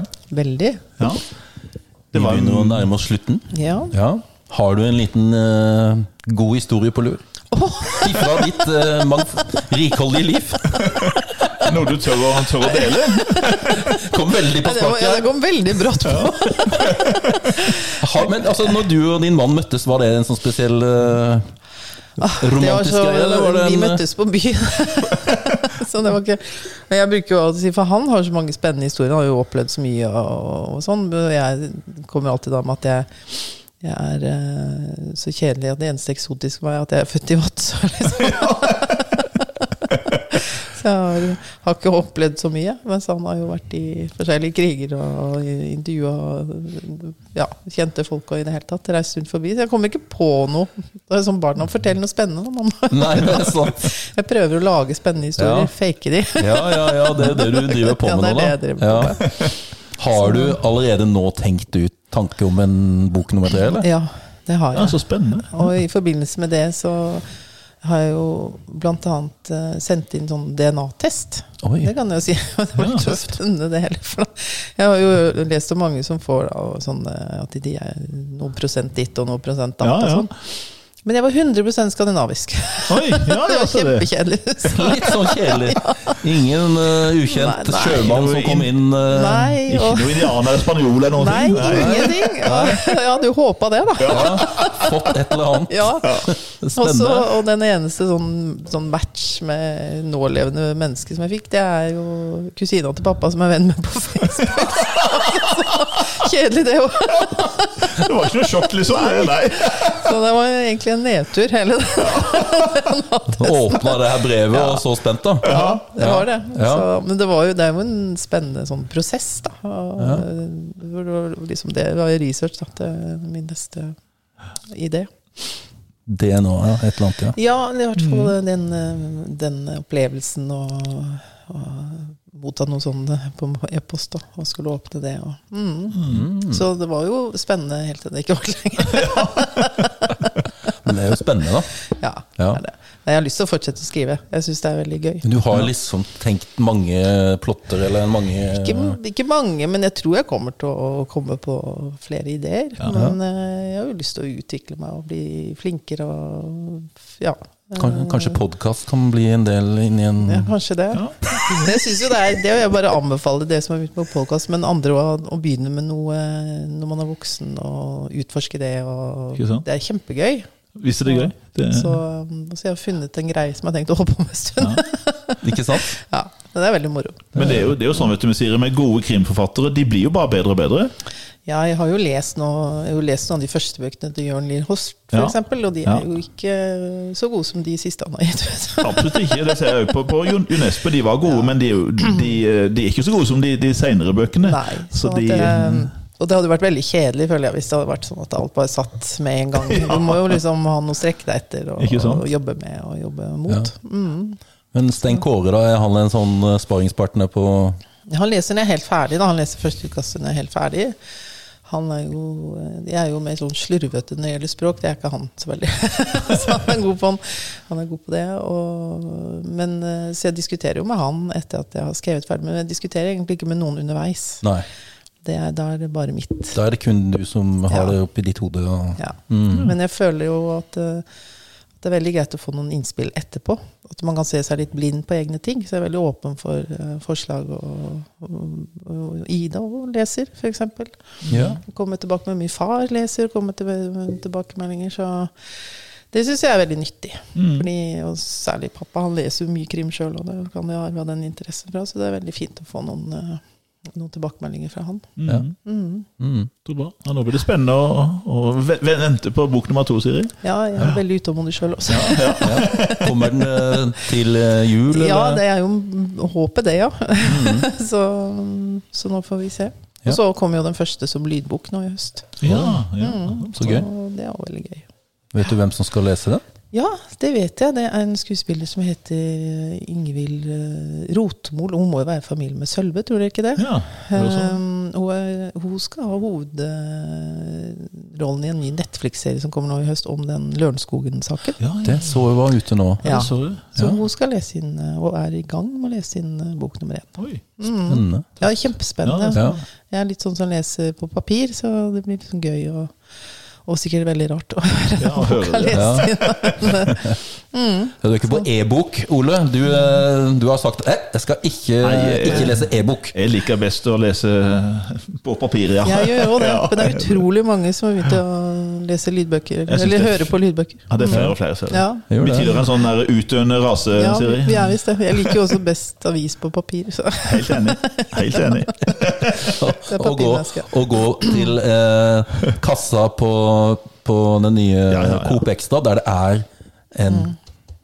S3: Veldig.
S2: Ja.
S1: Vi
S2: Det var
S1: begynner å
S2: en
S1: nærme oss slutten.
S3: Ja.
S1: Ja. Har du en liten eh, god historie på lur? Ifra ditt eh, mangf- rikholdige liv.
S2: Noe du tør å, tør å dele?
S1: Kom veldig på
S3: Ja, det, var, ja, det
S1: sparket.
S3: kom veldig brått på.
S1: Ha, men altså, når du og din mann møttes, var det en sånn spesiell eh,
S3: Ah, Det var
S1: romantisk
S3: så,
S1: greie? Eller var det
S3: vi
S1: en,
S3: møttes på byen. så det var ikke Men jeg bruker jo alltid å si, for han har så mange spennende historier, han har jo opplevd så mye og, og sånn. men Jeg kommer alltid da med at jeg, jeg er eh, så kjedelig at det eneste eksotiske var at jeg er født i Vadsø, liksom. Så jeg har, har ikke opplevd så mye, mens han har jo vært i forskjellige kriger og intervjua ja, kjente folk og i det hele tatt. Reist rundt forbi. Så jeg kommer ikke på noe. Det er sånn barna forteller noe spennende. Man
S1: Nei, det er sant.
S3: jeg prøver å lage spennende historier,
S1: Ja.
S3: fake de.
S1: Ja, ja, ja, det er det du driver på
S3: Ja,
S1: med
S3: det er
S1: nå, da.
S3: det jeg driver
S1: Ja. Har du allerede nå tenkt ut tanke om en bok nummer tre, eller?
S3: Ja, det har
S2: Ja,
S3: jeg.
S2: så spennende.
S3: Og i forbindelse med det så har jeg jo bl.a. sendt inn sånn DNA-test.
S1: Oi.
S3: Det kan jeg jo si. Det var
S2: Ja,
S3: ikke så
S2: tøft.
S3: spennende det heller. For da. Jeg har jo lest om mange som får da, og sånn, eh, at de er noen prosent ditt og noen prosent datt.
S2: Ja, ja.
S3: Og sånn. Men jeg var 100 skandinavisk.
S2: Oi, ja,
S3: Det
S2: det
S3: var
S2: altså det.
S3: kjempekjedelig.
S1: Litt sånn kjedelig. Ingen eh, ukjent
S3: Nei, nei.
S1: sjømann som kom inn eh,
S3: Nei,
S2: Ikke
S3: og
S2: noe indianer eller spanjol eller noe.
S3: Nei, ingenting. Ja, Jeg hadde jo håpa det, da.
S1: ja, Fått et eller annet
S3: Ja, Og så-
S1: spennende.
S3: og den eneste sånn, sånn match med nålevende menneske som jeg fikk, det er jo kusina til pappa som er venn med på Facebook. Så Kjedelig, det òg.
S2: Det var ikke noe sjokk, liksom. Nei, nei.
S3: Så det var egentlig en nedtur, hele det.
S1: Åpna det her brevet og så spent, da.
S3: det var det.
S1: Ja.
S3: Så, men det, var jo, det er jo en spennende sånn prosess, da. Og, hvor det var liksom det var jo research da, til min neste idé.
S1: DNA, ja. Et eller annet, ja.
S3: Ja, i hvert fall den, eh, den opplevelsen og, og motta noe sånt på e-post da, og skulle åpne det. Og, mm. Så det var jo spennende helt til det ikke var lenger.
S1: Men det er jo spennende, da.
S3: Ja,
S1: Ja.
S3: det er det. Nei, jeg har lyst til å fortsette å skrive. Jeg syns det er veldig gøy.
S1: Men Du har liksom tenkt mange plotter, eller mange
S3: Ikke, ikke mange, men jeg tror jeg kommer til å komme på flere ideer. Men eh, jeg har jo lyst til å utvikle meg og bli flinkere og ja.
S1: Kan- Kanskje podkast kan bli en del inni en
S3: Ja, kanskje det.
S2: Mm. Ja.
S3: Men Jeg synes jo det er, det vil jeg bare anbefale det som er ute på podcast, men andre å, å begynne med noe når man er voksen, og utforske det. Og
S2: Ikke sant?
S3: det er kjempegøy.
S2: Visste det gøy? Det,
S3: Så, mm, så jeg har funnet en greie som jeg har tenkt å holde på med en stund.
S1: Ikke sant?
S3: Ja, men det er veldig moro.
S2: men det er, jo, det er jo sånn, vet du, med Siri, med gode krimforfattere, de blir jo bare bedre og bedre.
S3: Ja, jeg har jo lest, nå, jeg har jo lest noen av de første bøkene til Jørn Lier Host, for
S2: Ja.
S3: eksempel, og de
S2: Ja.
S3: er jo ikke så gode som de siste han har gitt ut.
S2: Absolutt ikke. Det ser jeg òg på, på Unesco. De var gode, men de, er jo- de, de er ikke så gode som de, de seinere bøkene.
S3: Nei,
S2: så
S3: sånn
S2: de,
S3: at, eh, og det hadde vært veldig kjedelig føler jeg, hvis det hadde vært sånn at alt bare satt med en gang. Du må jo liksom ha noe å strekke deg etter og,
S2: Ikke sant?
S3: og jobbe med og jobbe mot.
S1: Ja.
S3: Mm.
S1: Men Men Stein Kåre, da? Er han en sånn eh, sparingspartner på
S3: Han leser når jeg er helt ferdig. Da. Han leser første utkast når jeg er helt ferdig. Han er jo, de er jo mer sånn slurvete når det gjelder språk. Det er ikke han så veldig. så han er god på, han. Han er god på det. Og, men, eh, så jeg diskuterer jo med han etter at jeg har skrevet ferdig. Men jeg diskuterer egentlig ikke med noen underveis.
S1: Nei.
S3: Det er, da er det bare mitt.
S1: Da er det kun du som har
S3: Ja.
S1: det oppi ditt hode. Og...
S3: Ja. Men jeg føler jo at, eh, at det er veldig greit å få noen innspill etterpå. At man kan se seg litt blind på egne ting. Så jeg er veldig åpen for eh, forslag og, og, og Ida og leser, f.eks.
S1: Ja.
S3: Komme tilbake med mye far leser, komme til, med tilbakemeldinger. Så det syns jeg er veldig nyttig. Fordi, og særlig pappa, han leser jo mye krim sjøl, og det kan jeg arve den interessen fra. Så det er veldig fint å få noen, eh, noen tilbakemeldinger fra han.
S1: Ja. Mm.
S2: Så bra. Ja, nå blir det spennende å, å ve- ve- vente på bok nummer to, Siri.
S3: Ja, jeg er veldig utålmodig sjøl også.
S1: Kommer den eh, til eh, jul?
S3: Ja,
S1: eller?
S3: det er jo m- håpet, det, ja. så, så nå får vi se.
S1: Ja.
S3: Og så kom jo den første som lydbok nå i høst.
S2: Ja, ja.
S3: Mm.
S1: Så gøy.
S3: Og det er også veldig gøy.
S1: Vet du hvem som skal lese den?
S3: Ja, det vet jeg. Det er en skuespiller som heter eh, Ingvild eh, Rotmol. Hun må jo være i familie med Sølve, tror dere ikke det?
S2: ja. det er jo sånn.
S3: Um, hun, er, hun skal ha hovedrollen i en ny Netflix-serie som kommer nå i høst, om den Lørenskogen-saken.
S2: Ja, ja.
S1: Det så jeg var ute nå.
S2: Ja, det så du.
S3: Så
S2: Ja.
S3: hun skal lese inn, eh, og er i gang med å lese inn eh, bok nummer én.
S2: Oi.
S1: Spennende.
S3: Ja, kjempespennende.
S2: Ja,
S1: Ja.
S3: Jeg er litt sånn som leser på papir, så det blir sånn gøy og, og sikkert veldig rart å høre
S2: Ja,
S3: hva
S2: høre
S3: boka
S2: det.
S3: leser.
S1: Du er ikke på e-bok, Ole. Du, eh, du har sagt at jeg skal ikke,
S2: Nei, jeg-
S1: ikke lese e-bok.
S2: Jeg liker best å lese på papir, ja.
S3: Jeg gjør jo det,
S2: Ja.
S3: men det er utrolig mange som har begynt å lese lydbøker,
S2: synes det
S3: eller
S2: er
S3: høre på lydbøker.
S2: Ja, det er flere og flere, ser du.
S3: Ja.
S1: Jeg gjør
S2: Vi
S1: det.
S2: tilhører en sånn der utdøende rase,
S3: Ja,
S2: Siri.
S3: vi er visst det. Jeg liker jo også best avis på papir. Så.
S2: Helt enig. Helt enig.
S3: er
S1: Og gå,
S3: papirmenneske.
S1: og gå til eh, kassa på, på den nye
S2: Ja, ja, ja.
S1: Coop Extra, der det er en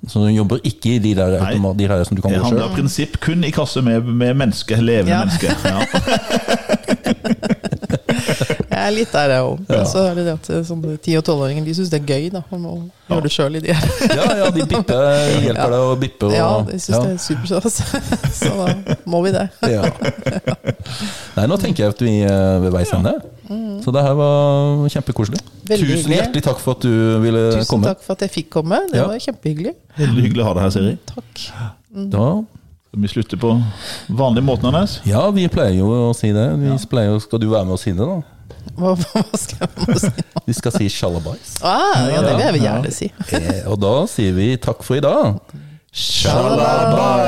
S1: Så du jobber ikke i de der,
S2: Nei.
S1: automa- de der som du kan
S2: Det
S1: gå
S2: handler
S1: sjøl.
S2: av prinsipp kun i kasse med, med menneske, levende
S3: Ja.
S2: menneske. Ja.
S3: Jeg er litt der, jeg òg. Og så er det det at sånne 10- og 12-åringer de syns det er gøy da, å gjøre det sjøl i de her.
S1: Ja, ja, de bipper, hjelper
S3: Ja.
S1: deg å bippe. Og,
S3: Ja, de syns det er superstas. Så da må vi det.
S1: Ja. Nei, nå tenker jeg at vi er ved veis ende. Så det her var kjempekoselig.
S3: Mm. Veldig
S1: Tusen
S3: hyggelig.
S1: hjertelig takk for at du ville
S3: Tusen
S1: komme.
S3: takk for at jeg fikk komme. Det
S1: Ja.
S3: var kjempehyggelig.
S2: Veldig hyggelig å ha deg her, Siri.
S3: Takk.
S1: Da,
S2: Vi slutter på vanlig måte, Anders.
S1: ja, vi pleier jo å si det. Vi pleier, jo- skal du være med og si det, da?
S3: Hva, hva skal jeg må si nå?
S1: Vi skal si 'sjalabais'.
S3: Ah, ja, det vil jeg vel
S2: Ja.
S3: gjerne si.
S1: Eh, Og da sier vi takk for i dag.
S2: Shalabais!